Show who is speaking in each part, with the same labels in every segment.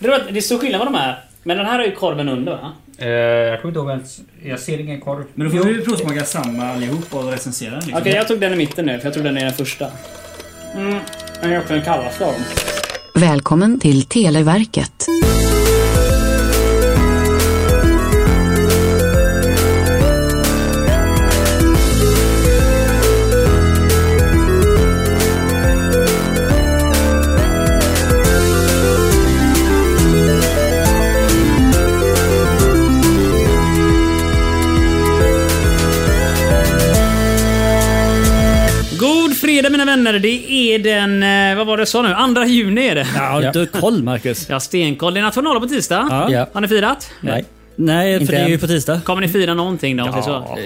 Speaker 1: Det var- det är stor skillnad vad de är. Men den här har ju korven under va?
Speaker 2: Eh, jag kommer inte ihåg ens. Jag ser ingen korv.
Speaker 3: Men då får vi provsmaka samma allihop och recensera den. Liksom.
Speaker 1: Okej, jag tog den i mitten nu för jag tror den är den första. Mm, den är också en kallaslav.
Speaker 4: Välkommen till Televerket.
Speaker 1: God fredag mina vänner. Det är den, eh, vad var det jag sa nu? 2 juni är det.
Speaker 5: Ja, har du koll Marcus?
Speaker 1: Jag har stenkoll. Det är nationaldag på tisdag.
Speaker 5: Ja. Ja.
Speaker 1: Har ni firat?
Speaker 5: Nej. Nej, för
Speaker 2: Inte
Speaker 5: det är
Speaker 2: än.
Speaker 5: ju på tisdag.
Speaker 1: Kommer ni fira någonting då? Om ja. så?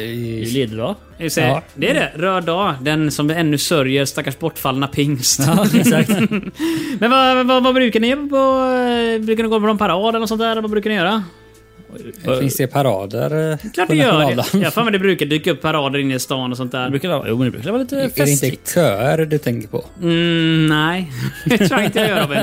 Speaker 5: Ledig dag.
Speaker 1: Jag säger,
Speaker 2: Ja.
Speaker 1: Det är det. Röd dag. Den som ännu sörjer stackars bortfallna pingst.
Speaker 5: Ja, exakt.
Speaker 1: Men vad, vad, vad brukar ni göra på? eh, Brukar ni gå på någon parad eller något sånt där? Vad brukar ni göra?
Speaker 2: Finns det parader? eh,
Speaker 1: Klart
Speaker 2: på
Speaker 1: ni gör
Speaker 2: nationaldagen?
Speaker 1: det. Jag har för mig det brukar dyka upp parader inne i stan och sånt
Speaker 5: Det
Speaker 1: där.
Speaker 5: brukar vara, jo, men det brukar vara lite
Speaker 2: Är det inte
Speaker 5: festligt.
Speaker 2: köer du tänker på?
Speaker 1: Mm, nej, det tror jag inte jag gör Robin.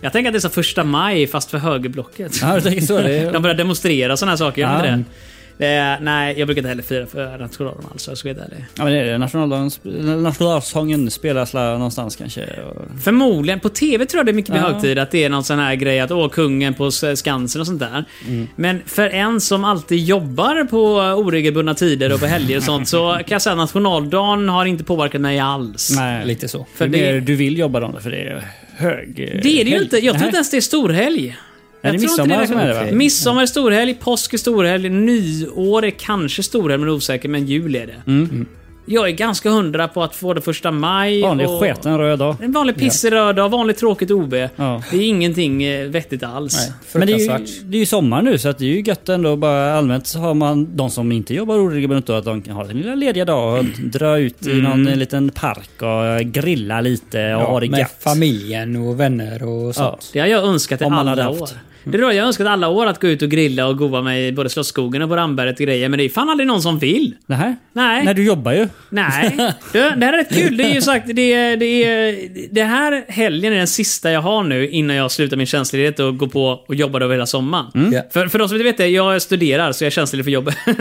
Speaker 1: Jag tänker att det är så första maj fast för högerblocket.
Speaker 5: Ja, du tänker så. Det är...
Speaker 1: De börjar demonstrera såna här saker, gör de
Speaker 5: Ja.
Speaker 1: inte det? Eh, nej, jag brukar inte heller fira för nationaldagen alls. Jag ska vara helt ärlig.
Speaker 5: ja, men det är det. Nationaldagen, sp- nationalsången spelas la- någonstans kanske. Och...
Speaker 1: Förmodligen. På TV tror jag det är mycket med
Speaker 5: Ja.
Speaker 1: högtid. Att det är någon sån här grej att åh, kungen på S- Skansen och sånt där.
Speaker 5: Mm.
Speaker 1: Men för en som alltid jobbar på eh, oregelbundna tider och på helger och sånt så kan jag säga att nationaldagen har inte påverkat mig alls.
Speaker 5: Nej,
Speaker 2: Lite så.
Speaker 5: För
Speaker 1: Det är
Speaker 5: det...
Speaker 1: mer
Speaker 5: du vill jobba dem för det är hög...
Speaker 1: Det är det ju inte. Jag tror inte ens det är storhelg.
Speaker 5: Är det
Speaker 1: Jag tror inte
Speaker 5: midsommar som är det
Speaker 1: Okej.
Speaker 5: va?
Speaker 1: Midsommar är storhelg, påsk är storhelg, nyår är kanske storhelg men osäker, men jul är det.
Speaker 5: Mm.
Speaker 1: Jag är ganska hundra på att få det första maj.
Speaker 5: Vanlig
Speaker 1: och-
Speaker 5: sketen röd dag.
Speaker 1: En vanlig pissig röd dag, vanligt tråkigt OB.
Speaker 5: Ja.
Speaker 1: Det är ingenting eh, vettigt alls.
Speaker 5: Men det är, ju,
Speaker 2: Fruktansvärt.
Speaker 5: det är ju sommar nu så att det är ju gött ändå bara allmänt så har man de som inte jobbar oregelbundet då att de kan ha sin lilla lediga dag och dra ut
Speaker 2: Mm.
Speaker 5: i någon liten park och eh, grilla lite och ha det
Speaker 2: med
Speaker 5: gött.
Speaker 2: familjen och vänner och
Speaker 5: Ja.
Speaker 2: sånt.
Speaker 1: Det har jag önskat i
Speaker 5: Om man
Speaker 1: alla
Speaker 5: hade
Speaker 1: år.
Speaker 5: haft. Mm.
Speaker 1: Det har jag önskat alla år att gå ut och grilla och goa mig i både Slottsskogen och på Ramberget och grejer. Men det är fan aldrig någon som vill.
Speaker 5: Nähä?
Speaker 1: Nej.
Speaker 5: Nej, du jobbar ju.
Speaker 1: Nej. Du, det här är rätt kul. Det är ju sagt, det, är, det, är, det här helgen är den sista jag har nu innan jag slutar min tjänstledighet och går på och jobbar över hela sommaren.
Speaker 5: Mm.
Speaker 2: Ja.
Speaker 1: För, för de som inte vet det, jag studerar så jag är tjänstledig för jobbet.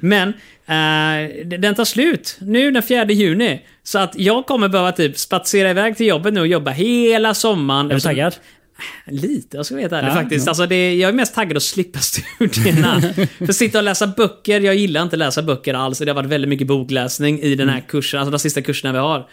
Speaker 1: Men eh, den tar slut nu den 4 juni. Så att jag kommer behöva typ spatsera iväg till jobbet nu och jobba hela sommaren.
Speaker 2: Alltså-
Speaker 5: Är du taggad?
Speaker 1: Lite, jag ska veta ärlig
Speaker 5: Ja,
Speaker 1: faktiskt. Alltså det, jag är mest taggad att slippa studierna. För sitta och läsa böcker, jag gillar inte att läsa böcker alls. Det har varit väldigt mycket bokläsning i den här
Speaker 5: Mm.
Speaker 1: kursen, alltså de sista kurserna vi har.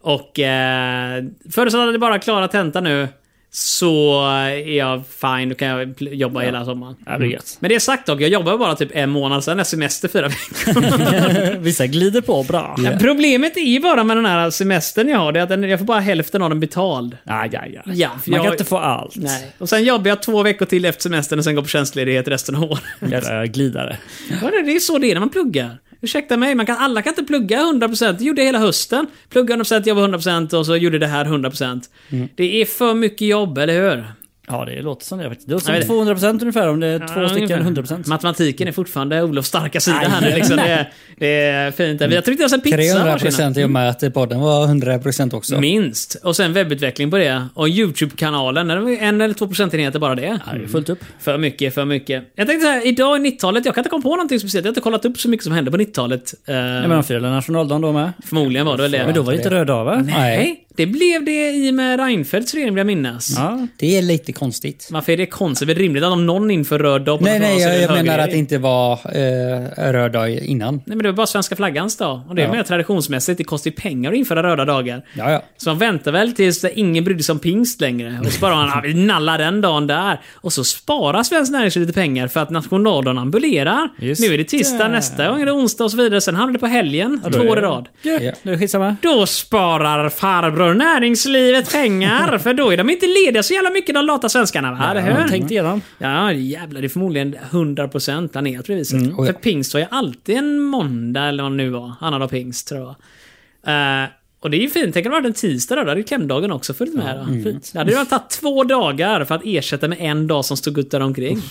Speaker 1: Och eh, förutsatt att jag bara klarar tentan nu så är jag fine, då kan jag pl- jobba hela sommaren.
Speaker 5: Ja, det blir gött.
Speaker 1: Men det är sagt dock, jag jobbar bara typ en månad, sen är semester fyra veckor.
Speaker 5: Vissa glider på bra. Ja,
Speaker 1: Problemet är ju bara med den här semestern jag har, det är att den, jag får bara hälften av den betald.
Speaker 5: ja, ja.
Speaker 1: Ja,
Speaker 5: Man
Speaker 1: för
Speaker 5: kan
Speaker 1: jag-
Speaker 5: inte få allt.
Speaker 1: Nej. Och sen jobbar jag två veckor till efter semestern och sen går på tjänstledighet resten av året.
Speaker 5: Jävla glidare.
Speaker 1: Hörru, det är så det är när man pluggar. Ursäkta mig, man kan, alla kan inte plugga 100%. Det gjorde jag hela hösten. Plugga 100%, jobba 100% och så gjorde det här 100%.
Speaker 5: Mm.
Speaker 1: Det är för mycket jobb, eller hur?
Speaker 5: Ja, det låter som det faktiskt. Det låter
Speaker 1: Jag vet-
Speaker 5: som 200% ungefär om det är två stycken 100%.
Speaker 1: Matematiken är fortfarande Olofs starka sida här nu. Liksom. Det, är, det är fint. Vi har tryckt i oss en pizza.
Speaker 2: 300
Speaker 1: varsin.
Speaker 2: procent i och med att podden var 100 procent
Speaker 5: Mm.
Speaker 2: också.
Speaker 1: Minst. Och sen webbutveckling på det. Och YouTube-kanalen. Det var ju En eller två procentenheter bara det.
Speaker 5: Ja, det är fullt upp.
Speaker 1: För mycket, för mycket. Jag tänkte så här, idag i 90-talet, jag kan inte komma på någonting speciellt. Jag har inte kollat upp så mycket som hände på 90-talet. Eh,
Speaker 5: Ja, men de firade nationaldagen då med.
Speaker 1: förmodligen var det väl det.
Speaker 5: Men då var det inte röd dag va?
Speaker 1: Nej, det blev det i och med Reinfeldts regering vill jag minnas.
Speaker 5: Ja.
Speaker 2: Det är lite konstigt.
Speaker 1: Varför är det konstigt? Det är väl rimligt att om någon inför röd dag på
Speaker 2: Nej, nej,
Speaker 1: nationaldagen så är
Speaker 2: jag,
Speaker 1: det
Speaker 2: jag
Speaker 1: en
Speaker 2: menar att det
Speaker 1: högerregering.
Speaker 2: inte var eh, röd dag innan.
Speaker 1: Nej men det var bara svenska flaggans dag. Och det är mer traditionsmässigt. Det kostar ju pengar att införa röda dagar.
Speaker 2: Ja, ja.
Speaker 1: Så man väntar väl tills det- ingen brydde sig om pingst längre. Och så bara man, "Ah, vi nallar den dagen där. Och så sparar Svenskt Näringsliv lite pengar för att nationaldagen ambulerar.
Speaker 5: Just
Speaker 1: nu är det tisdag,
Speaker 5: det.
Speaker 1: nästa gång är det onsdag och så vidare. Sen hamnar det på helgen,
Speaker 5: då
Speaker 1: två
Speaker 5: är
Speaker 1: år i
Speaker 5: det-
Speaker 1: rad.
Speaker 5: Ja, det är skitsamma.
Speaker 1: Då sparar farbror näringslivet pengar, för då är de inte lediga så jävla mycket de lata svenskarna. Va? Eller hur?
Speaker 5: Jag tänkte igenom.
Speaker 1: Ja, jävlar. Det är förmodligen 100% planerat på det viset.
Speaker 2: Oj.
Speaker 1: För pingst var ju alltid en måndag eller vad det nu var. Annandag pingst tror jag. Eh, Och det är ju fint. Tänk om det hade varit en tisdag då. Då hade ju klämdagen också följt med. Då. Fint. Det hade ju tagit två dagar för att ersätta med en dag som stod ut där omkring.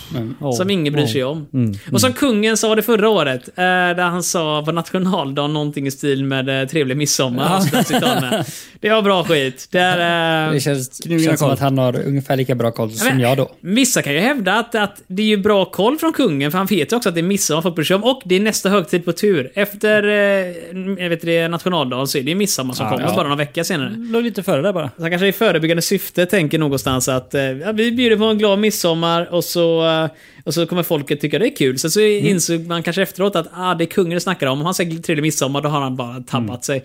Speaker 1: Som ingen bryr sig om. Och som kungen sa det förra året, eh, där han sa på nationaldagen någonting i stil med eh, trevlig midsommar. och sådär, citat med. Det var bra skit. Det är, eh,
Speaker 2: Det känns,
Speaker 5: Kniven
Speaker 2: känns som
Speaker 5: koll.
Speaker 2: att han har ungefär lika bra koll som
Speaker 1: men-
Speaker 2: jag då.
Speaker 1: Vissa kan ju hävda att, att det är ju bra koll från kungen, för han vet ju också att det är midsommar folk bryr sig om. Och det är nästa högtid på tur. Efter eh, jag vet det, nationaldagen så är det ju midsommar som
Speaker 5: Ja,
Speaker 1: kommer,
Speaker 5: ja.
Speaker 1: bara några veckor senare.
Speaker 5: Låg lite före där bara.
Speaker 1: Så han kanske i förebyggande syfte tänker någonstans att eh, ja, vi bjuder på en glad midsommar och så, eh, och så kommer folket tycka det är kul. Sen så
Speaker 5: Mm.
Speaker 1: insåg man kanske efteråt att ah, det är kungen det snackar om. Om han säger trevlig midsommar då har han bara tappat sig.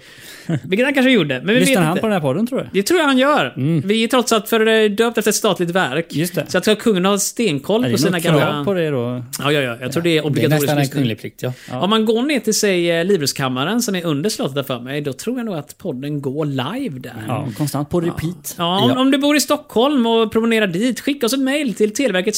Speaker 1: Vilket han kanske gjorde, men vi
Speaker 5: Mm. Lyssnar
Speaker 1: vet
Speaker 5: han
Speaker 1: inte.
Speaker 5: på den här podden tror du?
Speaker 1: Det tror jag han gör. Vi är trots allt för eh, döpt efter ett statligt verk.
Speaker 5: Mm. Just det.
Speaker 1: Så jag tror att kungen har stenkoll
Speaker 5: Är
Speaker 1: på
Speaker 5: det
Speaker 1: sina
Speaker 5: något krav
Speaker 1: gamla...
Speaker 5: på det då?
Speaker 1: Ja, ja, ja. Jag tror det är
Speaker 2: Det är
Speaker 1: obligatoriskt.
Speaker 2: nästan en
Speaker 1: lyssning.
Speaker 2: kunglig plikt, ja.
Speaker 1: Om man går ner till, säg, eh, Livrustkammaren som är under slottet där för mig, då tror jag nog att podden går live där.
Speaker 5: Ja, konstant på repeat.
Speaker 1: Ja, om, om du bor i Stockholm och promenerar dit, skicka oss ett mejl till televerket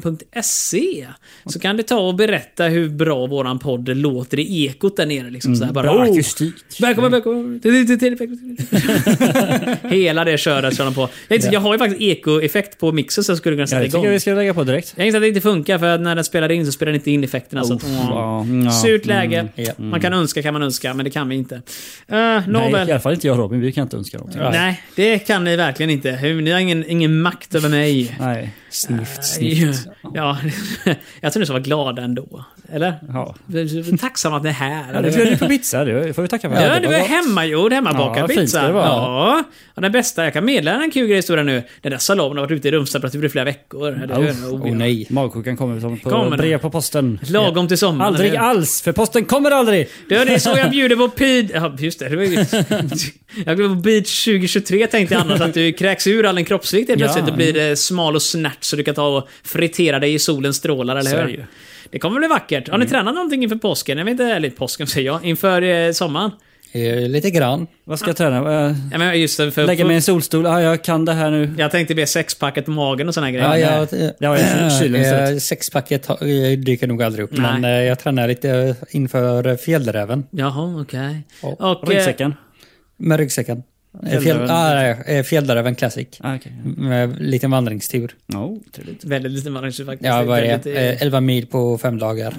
Speaker 1: fantasifabriken.se så kan du ta och berätta hur bra våran podd låter i ekot där nere. Liksom, så här, bara,
Speaker 5: Bra
Speaker 1: "Oh,
Speaker 5: akustik.
Speaker 1: Välkommen,
Speaker 5: Mm.
Speaker 1: välkommen till- till Televerket." Hela det köret kör de på. Jag, inte, jag har ju faktiskt ekoeffekt på mixen så jag skulle kunna
Speaker 5: Ja,
Speaker 1: sätta
Speaker 5: det tycker
Speaker 1: igång.
Speaker 5: jag vi ska lägga på direkt.
Speaker 1: Jag inser att det inte funkar för att när den spelar in så spelar den inte in effekterna. så att, Mm.
Speaker 5: ja, Oh, ja.
Speaker 1: Alltså,
Speaker 5: Mm.
Speaker 1: Surt läge.
Speaker 2: ja.
Speaker 1: Man kan önska kan man önska, men det kan vi inte. Uh,
Speaker 5: Nej,
Speaker 1: Nåväl.
Speaker 5: i alla fall inte jag Robin. Vi kan inte önska någonting.
Speaker 1: Nej, det kan ni verkligen inte. Ni har ingen, ingen makt över mig.
Speaker 5: Nej.
Speaker 2: Snyft,
Speaker 1: Ja,
Speaker 2: snyft.
Speaker 1: ja, jag tror ni ska vara glada ändå. Eller?
Speaker 5: Ja.
Speaker 1: Tacksam att ni är här.
Speaker 5: Ja, det bjöd ju på pizza, det får vi tacka för.
Speaker 1: Ja, det var
Speaker 5: gott.
Speaker 1: hemmagjord, hemmabakad
Speaker 5: Ja, fint
Speaker 1: pizza.
Speaker 5: ska det vara.
Speaker 1: Ja. ja, den bästa. Jag kan meddela en kul grej i historien nu. Den där salamen har varit ute i rumstemperatur i flera veckor. Eller hur?
Speaker 5: Oh,
Speaker 1: Oh,
Speaker 2: Oh, nej.
Speaker 5: Magsjukan kommer som på
Speaker 1: Kommer den?
Speaker 5: brev på posten.
Speaker 1: Lagom till sommaren.
Speaker 5: Aldrig
Speaker 1: eller hur?
Speaker 5: alls, för posten kommer aldrig!
Speaker 1: Du, det är så jag bjuder på PID... Ja, just det. det var ju... Jag glömde på Beach 2023 tänkte jag annars att du kräks ur all din kroppsvikt helt
Speaker 5: Ja.
Speaker 1: plötsligt och blir eh, smal och snärt så du kan ta och fritera dig i solens strålar,
Speaker 5: Så
Speaker 1: eller
Speaker 5: är det
Speaker 1: hur?
Speaker 5: ju. Mm.
Speaker 1: Det kommer bli vackert. Har ni tränat någonting inför påsken? Jag vet inte, eller påsken säger jag. Inför eh, sommaren?
Speaker 2: Eh, Lite grann.
Speaker 5: Vad ska jag träna? Eh,
Speaker 1: Ja, men just det, för...
Speaker 5: Lägga mig i en solstol? Ah, jag kan det här nu.
Speaker 1: Jag tänkte be sexpacket på magen och såna här grejer.
Speaker 2: Ja,
Speaker 5: ja.
Speaker 2: jag, eh,
Speaker 5: Det var ju kylen istället.
Speaker 2: eh, sexpacket har- eh, dyker nog aldrig upp,
Speaker 1: Nej.
Speaker 2: men eh, jag tränar lite eh, inför eh, fjällräven
Speaker 1: Jaha, okej.
Speaker 2: Ja.
Speaker 1: Och, eh,
Speaker 5: Ryggsäcken?
Speaker 2: med ryggsäcken. Eh, Fjäll,
Speaker 5: Fjällräven.
Speaker 2: ah, nej, eh, fjällräven Classic.
Speaker 5: Ah, okej.
Speaker 2: Med liten vandringstur.
Speaker 5: Ja, trevligt.
Speaker 1: eh, Väldigt liten vandring faktiskt.
Speaker 2: Ja, vad är
Speaker 1: Väldigt,
Speaker 2: det? mm.
Speaker 1: eh,
Speaker 2: Eh, 11 mil på fem dagar.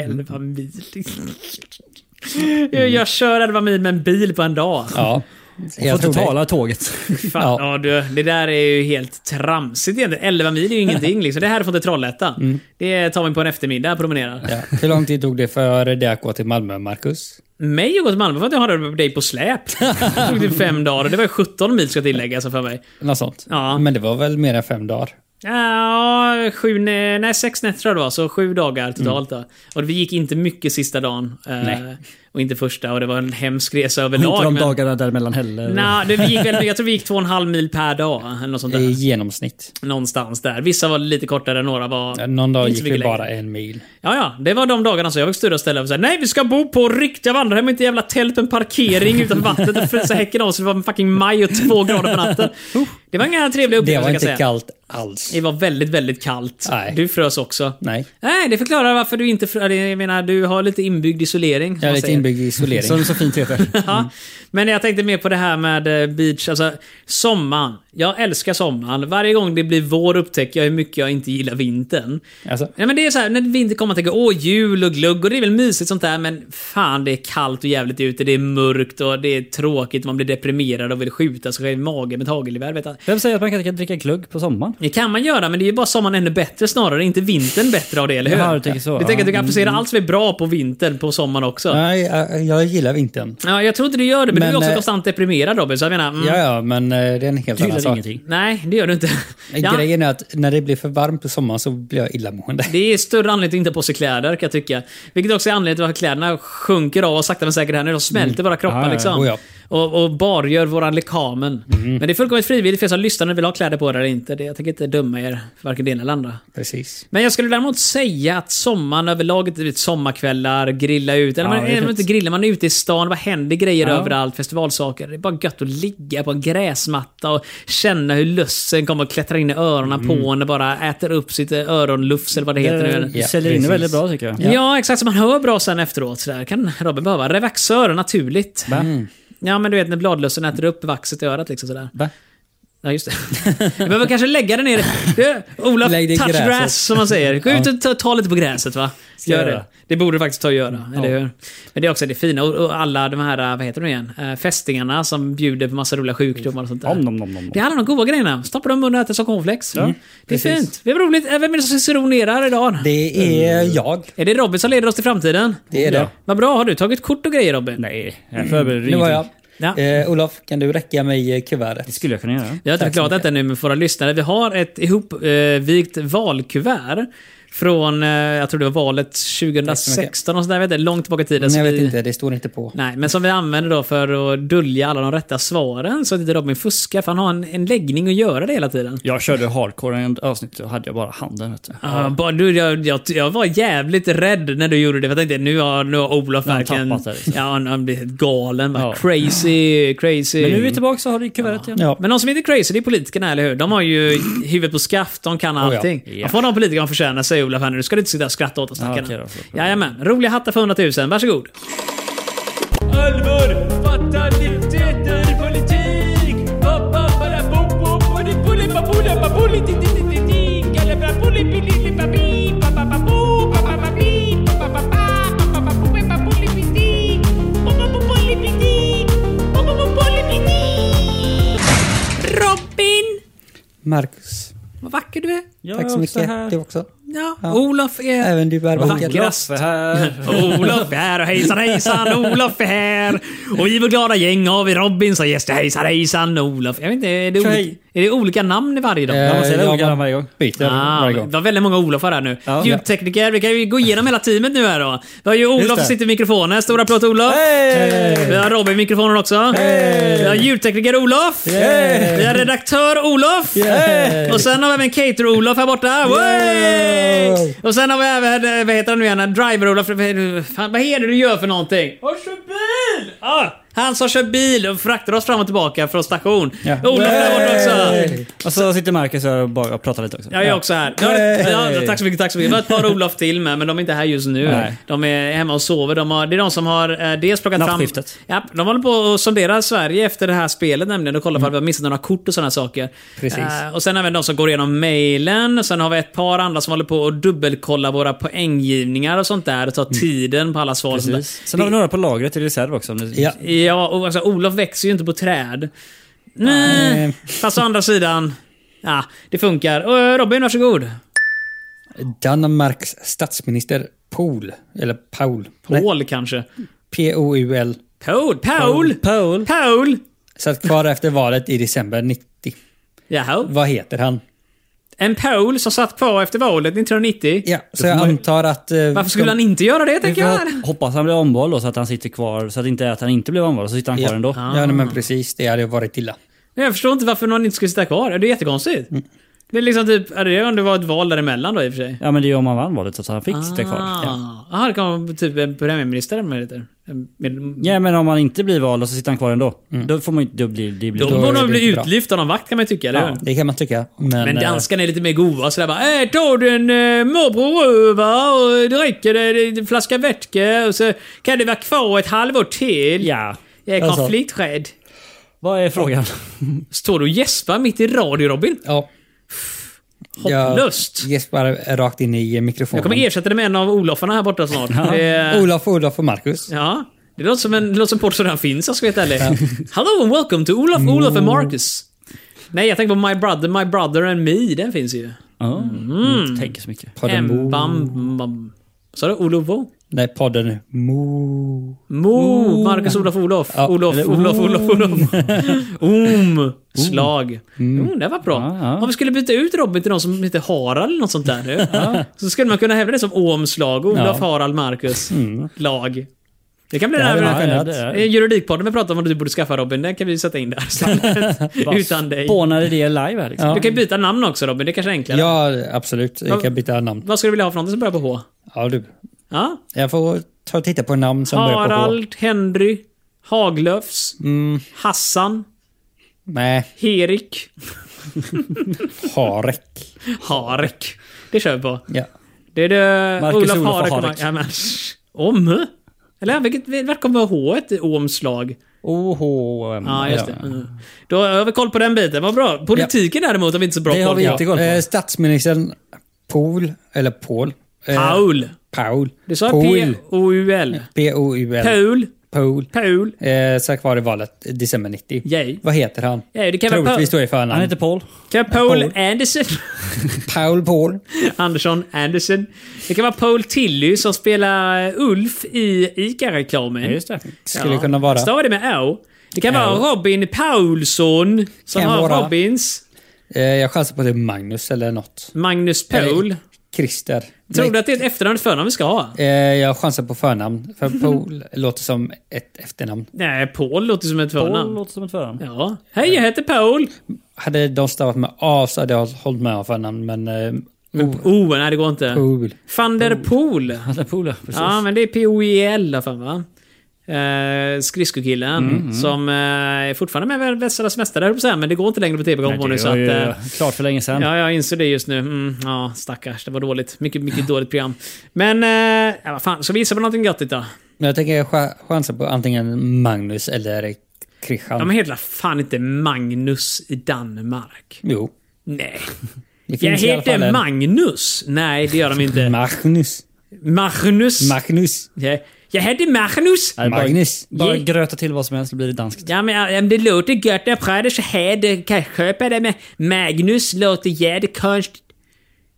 Speaker 1: 11 mil. Jag- Jag kör 11 mil med en bil på en dag.
Speaker 2: Ja.
Speaker 5: Jag får
Speaker 2: tror
Speaker 5: inte
Speaker 2: det.
Speaker 5: tala tåget.
Speaker 1: Fan, ja.
Speaker 2: Ja.
Speaker 1: du, det där är ju helt tramsigt egentligen. 11 mil är ju ingenting. Liksom. Det här är från Trollhättan.
Speaker 2: Mm.
Speaker 1: Det tar man på en eftermiddag och promenerar.
Speaker 2: Ja. Hur lång tid tog det för dig att gå till Malmö, Marcus?
Speaker 1: Mig att gå till Malmö för att jag hade dig på släp. Det tog typ fem dagar och det var 17 mil ska tilläggas för mig.
Speaker 2: Något sånt?
Speaker 1: Ja.
Speaker 2: Men det var väl mer än fem dagar?
Speaker 1: Ja, sju, nä- nej, sex nätter tror jag det var, så sju dagar totalt. Då. Och vi gick inte mycket sista dagen. eh,
Speaker 2: Nej.
Speaker 1: Och inte första, och det var en hemsk resa
Speaker 5: Inte
Speaker 1: överlag.
Speaker 5: de
Speaker 1: men-
Speaker 5: dagarna däremellan heller.
Speaker 1: Nej, det- vi gick väl, jag tror vi gick två och en halv mil per dag. Eller något sånt
Speaker 2: I
Speaker 1: där.
Speaker 2: genomsnitt.
Speaker 1: Någonstans där. Vissa var lite kortare, några var...
Speaker 2: Någon dag
Speaker 1: inte
Speaker 2: gick
Speaker 1: mycket
Speaker 2: vi
Speaker 1: längre.
Speaker 2: bara en mil.
Speaker 1: Ja, ja. Det var de dagarna som jag fick styra ställen och säga nej, vi ska bo på riktiga vandrarhem, inte jävla tält med en parkering utan vattnet och frysa häcken av så det var fucking maj och två grader på natten. Det var inga trevliga
Speaker 2: Det
Speaker 1: upplevelser
Speaker 2: var
Speaker 1: kan jag
Speaker 2: inte
Speaker 1: säga.
Speaker 2: kallt alls.
Speaker 1: Det var väldigt, väldigt kallt.
Speaker 2: Nej.
Speaker 1: Du frös också.
Speaker 2: Nej.
Speaker 1: Nej, det förklarar varför du inte frös. Jag menar, du har lite inbyggd isolering. som
Speaker 2: Jag är
Speaker 1: man
Speaker 2: lite
Speaker 1: säger.
Speaker 2: inbyggd Mm. i isolering.
Speaker 5: Som så fint heter.
Speaker 1: Ja. Men jag tänkte mer på det här med eh, beach, alltså sommaren. Jag älskar sommaren. Varje gång det blir vår upptäcker jag hur mycket jag inte gillar vintern.
Speaker 2: Alltså,
Speaker 1: Nej, men det är så här, när vintern kommer man tänker åh jul och glögg och det är väl mysigt sånt där men fan det är kallt och jävligt ute, det är mörkt och det är tråkigt, man blir deprimerad och vill skjuta sig själv i magen med hagelgevär. vet jag.
Speaker 5: Vem säger att man inte kan dricka glögg på sommaren?
Speaker 1: Det kan man göra men det är ju bara sommaren ännu bättre snarare, inte vintern bättre av det, eller hur?
Speaker 5: Jaha, du tänker så,
Speaker 1: Du
Speaker 5: ja.
Speaker 1: tänker att du kan applicera allt som är bra på vintern på sommaren också?
Speaker 2: nej, jag, jag gillar vintern.
Speaker 1: Ja, jag tror inte du gör det, men,
Speaker 2: Men,
Speaker 1: du är också
Speaker 2: eh,
Speaker 1: konstant deprimerad Robin, så jag menar... Mm,
Speaker 2: Ja, ja, men eh, det är en helt
Speaker 5: Du
Speaker 2: annan
Speaker 5: gillar
Speaker 2: sak.
Speaker 5: ingenting.
Speaker 1: Nej, det gör du inte. Ja,
Speaker 2: Grejen är att när det blir för varmt på sommaren så blir jag illamående.
Speaker 1: det är större anledning att inte ha på sig kläder, kan jag tycka. Vilket också är anledningen till varför kläderna sjunker av och sakta men säkert här nu. De smälter våra kroppar
Speaker 5: Ja, ja,
Speaker 1: liksom.
Speaker 2: oh ja.
Speaker 1: Och, och bargör våra lekamen. Men det är fullkomligt frivilligt för er som lyssnar om ni vill ha kläder på er eller inte. Det, jag tänker inte döma er, varken det ena eller andra.
Speaker 2: Precis.
Speaker 1: Men jag skulle däremot säga att sommaren överlag, det är typ sommarkvällar, grilla ut. Eller
Speaker 5: Ja,
Speaker 1: man,
Speaker 5: det är
Speaker 1: eller
Speaker 5: fint.
Speaker 1: inte grilla, man är ute i stan, vad händer grejer
Speaker 5: Ja.
Speaker 1: överallt, festivalsaker. Det är bara gött att ligga på en gräsmatta och känna hur lössen kommer och klättra in i öronen på en och bara äter upp sitt eh, öronlufs eller vad det heter nu.
Speaker 5: Mm. Det Eh, säljer in det
Speaker 2: precis.
Speaker 5: väldigt bra tycker jag.
Speaker 1: Ja. exakt. Så man hör bra sen efteråt. Så där kan Robin behöva. Revaxör, naturligt.
Speaker 5: Va?
Speaker 1: Ja, men du vet när bladlössen äter upp vaxet i örat liksom sådär.
Speaker 5: Va?
Speaker 1: Ja, just det. Du behöver kanske lägga det ner. Du, Ola,
Speaker 2: Lägg det i
Speaker 1: touch
Speaker 2: gräset.
Speaker 1: grass som man säger. Gå ut och ta, ta lite på gräset va?
Speaker 5: Ska
Speaker 1: Gör
Speaker 5: jag
Speaker 1: det.
Speaker 5: göra.
Speaker 1: Det borde du faktiskt ta och göra,
Speaker 5: Ja.
Speaker 1: eller hur? Men det är också det fina och, och alla de här, vad heter de igen? Eh, fästingarna som bjuder på massa roliga sjukdomar och sånt där.
Speaker 5: Om, om, om, om.
Speaker 1: Det är alla de goda grejerna. Stoppa dem i munnen och äta som cornflakes. Mm. Det är
Speaker 2: precis.
Speaker 1: fint. Det är roligt. Eh, Vem är det som ciceronerar idag?
Speaker 2: Det är jag.
Speaker 1: Är det Robin som leder oss till framtiden?
Speaker 2: Det är det.
Speaker 5: Ja.
Speaker 1: Vad bra, har du tagit kort och grejer Robin?
Speaker 5: Nej, jag förbereder
Speaker 2: Nu var jag.
Speaker 5: ingenting.
Speaker 1: Ja.
Speaker 2: Eh, Olof, kan du räcka mig eh, kuvertet?
Speaker 5: Det skulle jag kunna göra.
Speaker 1: Jag har inte
Speaker 2: Tack så
Speaker 1: förklarat detta nu med våra lyssnare. Vi har ett ihopvikt valkuvert från, eh, jag tror det var valet
Speaker 2: så mycket.
Speaker 1: 2016 och sådär, vet jag, långt tillbaka i tiden.
Speaker 2: Nej,
Speaker 1: Så
Speaker 2: jag vet
Speaker 1: vi,
Speaker 2: inte, det står inte på.
Speaker 1: Nej, men som vi använder då för att dölja alla de rätta svaren så att inte Robin fuskar, för han har en, en läggning att göra det hela tiden.
Speaker 5: Jag körde hardcore i en avsnitt och hade jag bara handen. Vet du.
Speaker 1: Ja, bara, du, jag, jag, jag var jävligt rädd när du gjorde det. För jag tänkte nu har, nu har Olof
Speaker 5: Nu har han
Speaker 1: verkligen...
Speaker 5: tappat det, liksom.
Speaker 1: Ja, han har blivit galen. va.
Speaker 5: Ja.
Speaker 1: Crazy, crazy.
Speaker 5: Men nu är vi tillbaka så har du kuvertet igen.
Speaker 2: Ja.
Speaker 1: Men de som inte är crazy, det är politikerna, eller hur? De har ju huvudet på skaft, de kan
Speaker 2: ja.
Speaker 1: allting.
Speaker 5: Oh Ja.
Speaker 1: Man får de politikerna förtjäna sig, Olof, här nu. Nu ska du inte sitta och skratta åt oss,
Speaker 5: Ja,
Speaker 1: stackarna.
Speaker 5: okej då, förlåt.
Speaker 1: Jajamän. Roliga hattar för 100 000. Varsågod.
Speaker 6: Allvar, fataliteter, politik
Speaker 1: Robin!
Speaker 2: Marcus,
Speaker 1: Vad vacker du är.
Speaker 5: Jag
Speaker 2: tack
Speaker 5: är
Speaker 2: så
Speaker 5: också
Speaker 2: mycket.
Speaker 5: här.
Speaker 2: Du också.
Speaker 1: Ja,
Speaker 2: Ja.
Speaker 1: Olof är...
Speaker 2: Även du är vacker.
Speaker 1: Vackrast.
Speaker 5: Laffe här.
Speaker 1: Olof är här och hejsan hejsan, Olof är här. Och vi är vårt glada gäng av Robin som gäster. Hejsan hejsan, Olof. Jag vet inte, är det, olika,
Speaker 5: Tjej.
Speaker 1: är det olika namn i varje dag?
Speaker 2: Eh,
Speaker 5: Ja, man säger det
Speaker 2: ja,
Speaker 5: olika
Speaker 2: man-
Speaker 5: namn varje gång.
Speaker 2: Byter
Speaker 1: Ah,
Speaker 2: varje
Speaker 1: det
Speaker 2: gång.
Speaker 1: var väldigt många Olof här nu.
Speaker 5: Ja.
Speaker 1: Ljudtekniker, vi kan ju gå igenom hela teamet nu här då. Vi har ju Olof
Speaker 5: det.
Speaker 1: som sitter i mikrofonen. Stor applåd till Olof. Vi har Robin i mikrofonen också. Vi har ljudtekniker Olof. Vi har redaktör Olof.
Speaker 2: Yay!
Speaker 1: Och sen har vi även cater-Olof här borta. Yay! Och sen har vi även, eh, vad heter han nu igen, driver-Olof. Fan, Vad är det du gör för någonting? Jag kör bil! Ah, han som kör bil och fraktar oss fram och tillbaka från station.
Speaker 5: Ja.
Speaker 1: Olof är där borta också.
Speaker 2: Yay!
Speaker 5: Och så sitter Marcus här och bara pratar lite också.
Speaker 1: Ja, jag är också här. Jag har ett,
Speaker 2: Yay!
Speaker 1: ja, tack så mycket, tack så mycket. Vi har ett par Olof till med, men de är inte här just nu.
Speaker 5: Nej.
Speaker 1: De är hemma och sover. De har, det är de som har eh, dels plockat fram...
Speaker 5: Nattskiftet.
Speaker 1: Ja, de håller på och sonderar Sverige efter det här spelet nämligen och kollar
Speaker 5: Mm.
Speaker 1: ifall vi har missat några kort och sådana saker.
Speaker 2: Precis.
Speaker 1: Eh, och sen även de som går igenom mejlen. Sen har vi ett par andra som håller på och dubbelkolla våra poänggivningar och sånt där och tar tiden på alla svar. Och sånt där.
Speaker 5: Mm. Precis. Sen har vi några på lagret i reserv också. Om ni...
Speaker 2: Ja.
Speaker 1: Ja, och alltså, Olof växer ju inte på träd. Nej. Fast å andra sidan, ja, det funkar. Och, eh, Robin, varsågod.
Speaker 2: Danmarks statsminister Poul, eller Paul. Nej,
Speaker 1: Paul kanske.
Speaker 2: P-O-U-L.
Speaker 1: Paul? Paul?
Speaker 5: Paul.
Speaker 1: Paul?
Speaker 2: Satt kvar efter valet i december 90.
Speaker 1: Jaha.
Speaker 2: Vad heter han?
Speaker 1: En Paul som satt kvar efter valet 1990.
Speaker 2: Ja, så jag antar att... eh,
Speaker 1: Varför skulle
Speaker 2: de-
Speaker 1: han inte göra det,
Speaker 2: Vi
Speaker 1: tänker
Speaker 2: får-
Speaker 1: jag?
Speaker 5: Hoppas han blir omvald då så att han sitter kvar. Så att inte är att han inte blev omvald så sitter han kvar
Speaker 2: Ja,
Speaker 5: ändå.
Speaker 2: ja nej, men precis. Det hade ju varit illa.
Speaker 1: Men Jag förstår inte varför någon inte skulle sitta kvar. Det är jättekonstigt.
Speaker 5: Mm.
Speaker 1: Det är liksom typ, är det om det var ett val däremellan då i och för sig?
Speaker 5: Ja men det är ju om han vann valet så att han fick sitta kvar. Ja.
Speaker 1: Ah. Jaha, det kan vara typ en premiärminister eller vad det heter. En- med-
Speaker 5: ja men om han inte blir vald och så sitter han kvar ändå. Då får man ju... Då blir, det blir
Speaker 1: Då
Speaker 2: Mm. då
Speaker 1: borde
Speaker 2: är
Speaker 1: de
Speaker 2: det
Speaker 1: bli
Speaker 2: inte bra.
Speaker 1: utlyft av någon vakt kan man ju tycka, eller hur?
Speaker 2: Det kan man tycka. Men,
Speaker 1: Men
Speaker 2: eh,
Speaker 1: danskarna är lite mer goa sådär bara äh, tar du en äh, morbror röva och dricker en, en flaska vätska och så kan det vara kvar ett halvår till.
Speaker 5: Ja.
Speaker 1: Jag är
Speaker 2: Alltså.
Speaker 1: konflikträdd.
Speaker 5: Vad är frågan?
Speaker 1: Står du och gäspar mitt i radio Robin?
Speaker 2: Ja.
Speaker 1: Hopplöst.
Speaker 2: Jag gäspar rakt in i eh, mikrofonen.
Speaker 1: Jag kommer eh, ersätta dig med en av Olofarna här borta snart. Det,
Speaker 2: Olof, Olof och Marcus.
Speaker 1: ja, det låter som en, det låter som en podd som redan finns, jag ska vara helt ärlig. Hello and welcome to Olof,
Speaker 2: Mm.
Speaker 1: Olof and Marcus. Nej, jag tänker på My Brother, My Brother and Me. Den finns ju.
Speaker 5: Ja. Mm. Tänker så mycket.
Speaker 2: Podden Mo.
Speaker 1: Bam, bam. Sa du Olovo?
Speaker 2: Nej, podden Mo.
Speaker 1: Mo, Marcus Olof Olof.
Speaker 2: Ja,
Speaker 1: Olof,
Speaker 2: eller
Speaker 1: Olof, Olof, Olof. Om. Slag. Mm, det var bra.
Speaker 5: Ja, ja.
Speaker 1: Om vi skulle byta ut Robin till någon som heter Harald eller något sånt där nu. Så skulle man kunna hävda det som Omslag. Olof, Harald, Marcus. Lag. Det kan bli den
Speaker 2: hade
Speaker 1: här
Speaker 2: varit
Speaker 1: eh,
Speaker 2: fint.
Speaker 5: Ja, det är-
Speaker 1: juridikpodden vi pratade om vad du borde skaffa Robin. Den kan vi sätta in där istället. Utan dig.
Speaker 5: Spånade det live här liksom.
Speaker 1: Du kan ju byta namn också Robin, det är kanske är enklare.
Speaker 2: Ja, absolut. Jag kan byta namn.
Speaker 1: Vad skulle du vilja ha för någonting som börjar på H?
Speaker 2: Ja, du.
Speaker 1: Ja?
Speaker 2: Jag får ta och titta på namn som börjar på H.
Speaker 1: Harald, Henry, Haglöfs, Hassan,
Speaker 2: Nej,
Speaker 1: Herik.
Speaker 2: Harek.
Speaker 1: Harek. Det kör vi på.
Speaker 2: Ja.
Speaker 1: Det är det
Speaker 5: Marcus
Speaker 1: Olof
Speaker 5: Olof och
Speaker 1: Harek. Harek.
Speaker 5: Harek.
Speaker 1: Ja, men, om? Eller vilket, vart kommer H i omslag?
Speaker 5: OHM.
Speaker 1: Ja, just det. Mm. Då har vi koll på den biten. Vad bra. Politiken däremot har vi inte så bra
Speaker 5: Det har
Speaker 1: koll
Speaker 5: vi
Speaker 1: på.
Speaker 5: inte koll på.
Speaker 2: Eh, statsministern Paul, eller Paul. eh,
Speaker 1: Paul.
Speaker 2: Paul.
Speaker 1: Du sa
Speaker 2: Paul.
Speaker 1: P-O-U-L.
Speaker 2: P-O-U-L.
Speaker 1: Paul.
Speaker 2: Paul.
Speaker 1: Paul.
Speaker 2: Eh, Satt kvar i valet december 90.
Speaker 1: Yay.
Speaker 2: Vad heter han?
Speaker 1: Yay, det kan vara
Speaker 2: Troligtvis
Speaker 1: Paul.
Speaker 2: då i förnamn.
Speaker 5: Han heter Paul.
Speaker 1: Kan vara Paul
Speaker 2: Paul.
Speaker 1: Anderson.
Speaker 2: Paul Paul.
Speaker 1: Andersson Anderson. Det kan vara Paul Tilly som spelar eh, Ulf i ICA-reklamen.
Speaker 5: Just det.
Speaker 2: Skulle kunna vara.
Speaker 1: Stavar det med Å. Det kan
Speaker 2: Å.
Speaker 1: vara Robin Paulsson som
Speaker 2: Kan
Speaker 1: har
Speaker 2: vara.
Speaker 1: Robins.
Speaker 2: Eh, jag chansar på att det är Magnus eller något.
Speaker 1: Magnus Paul.
Speaker 2: Eller Christer.
Speaker 1: Tror
Speaker 2: Nej,
Speaker 1: du att det är ett efternamn eller förnamn vi ska ha?
Speaker 2: eh, jag chansar på förnamn. För Paul låter som ett efternamn.
Speaker 1: Nej, Paul låter som ett
Speaker 5: Paul
Speaker 1: förnamn.
Speaker 5: låter som ett förnamn.
Speaker 1: Ja. Hej, jag heter Paul.
Speaker 2: Hade de stavat med A så hade jag hållit med om förnamn, men... Eh, o,
Speaker 1: Oh, nej det går inte.
Speaker 2: Paul.
Speaker 1: Van der Poel.
Speaker 5: Han är Paul, ja. Precis.
Speaker 1: Ja, men det är P-O-E-L där fan va? Eh, skridskokillen
Speaker 2: Mm,
Speaker 1: som eh, är fortfarande med i Västsalas mästare, höll jag på att säga, men det går inte längre på
Speaker 5: Men
Speaker 1: TV-programmet nu.
Speaker 5: det
Speaker 1: Så
Speaker 5: var
Speaker 1: att,
Speaker 5: ju
Speaker 1: eh,
Speaker 5: klart för länge sedan.
Speaker 1: ja, jag inser det just nu. Mm, ja, stackars. Det var dåligt. Mycket, mycket dåligt program. Men, eh, ja, vad fan. Ska vi gissa på någonting göttigt då?
Speaker 2: Men jag tänker cha- chansa på antingen Magnus eller Christian.
Speaker 1: Ja, men heter fan inte Magnus i Danmark?
Speaker 2: Jo.
Speaker 1: Nej.
Speaker 2: Det
Speaker 1: Jag
Speaker 2: finns i alla fall
Speaker 1: heter
Speaker 2: en-
Speaker 1: Magnus. Nej, det gör de inte.
Speaker 2: Magnus.
Speaker 1: Magnus.
Speaker 2: Magnus.
Speaker 1: Ja. Jag heter Magnus.
Speaker 5: Nej, bara-
Speaker 2: Magnus.
Speaker 5: Bara
Speaker 1: Ge-
Speaker 5: gröta till vad som helst, det blir det danskt.
Speaker 1: Ja, men ja, men det låter gött. Jag pratar så här. Det kan jag köpa det med. Magnus låter jättekonstigt.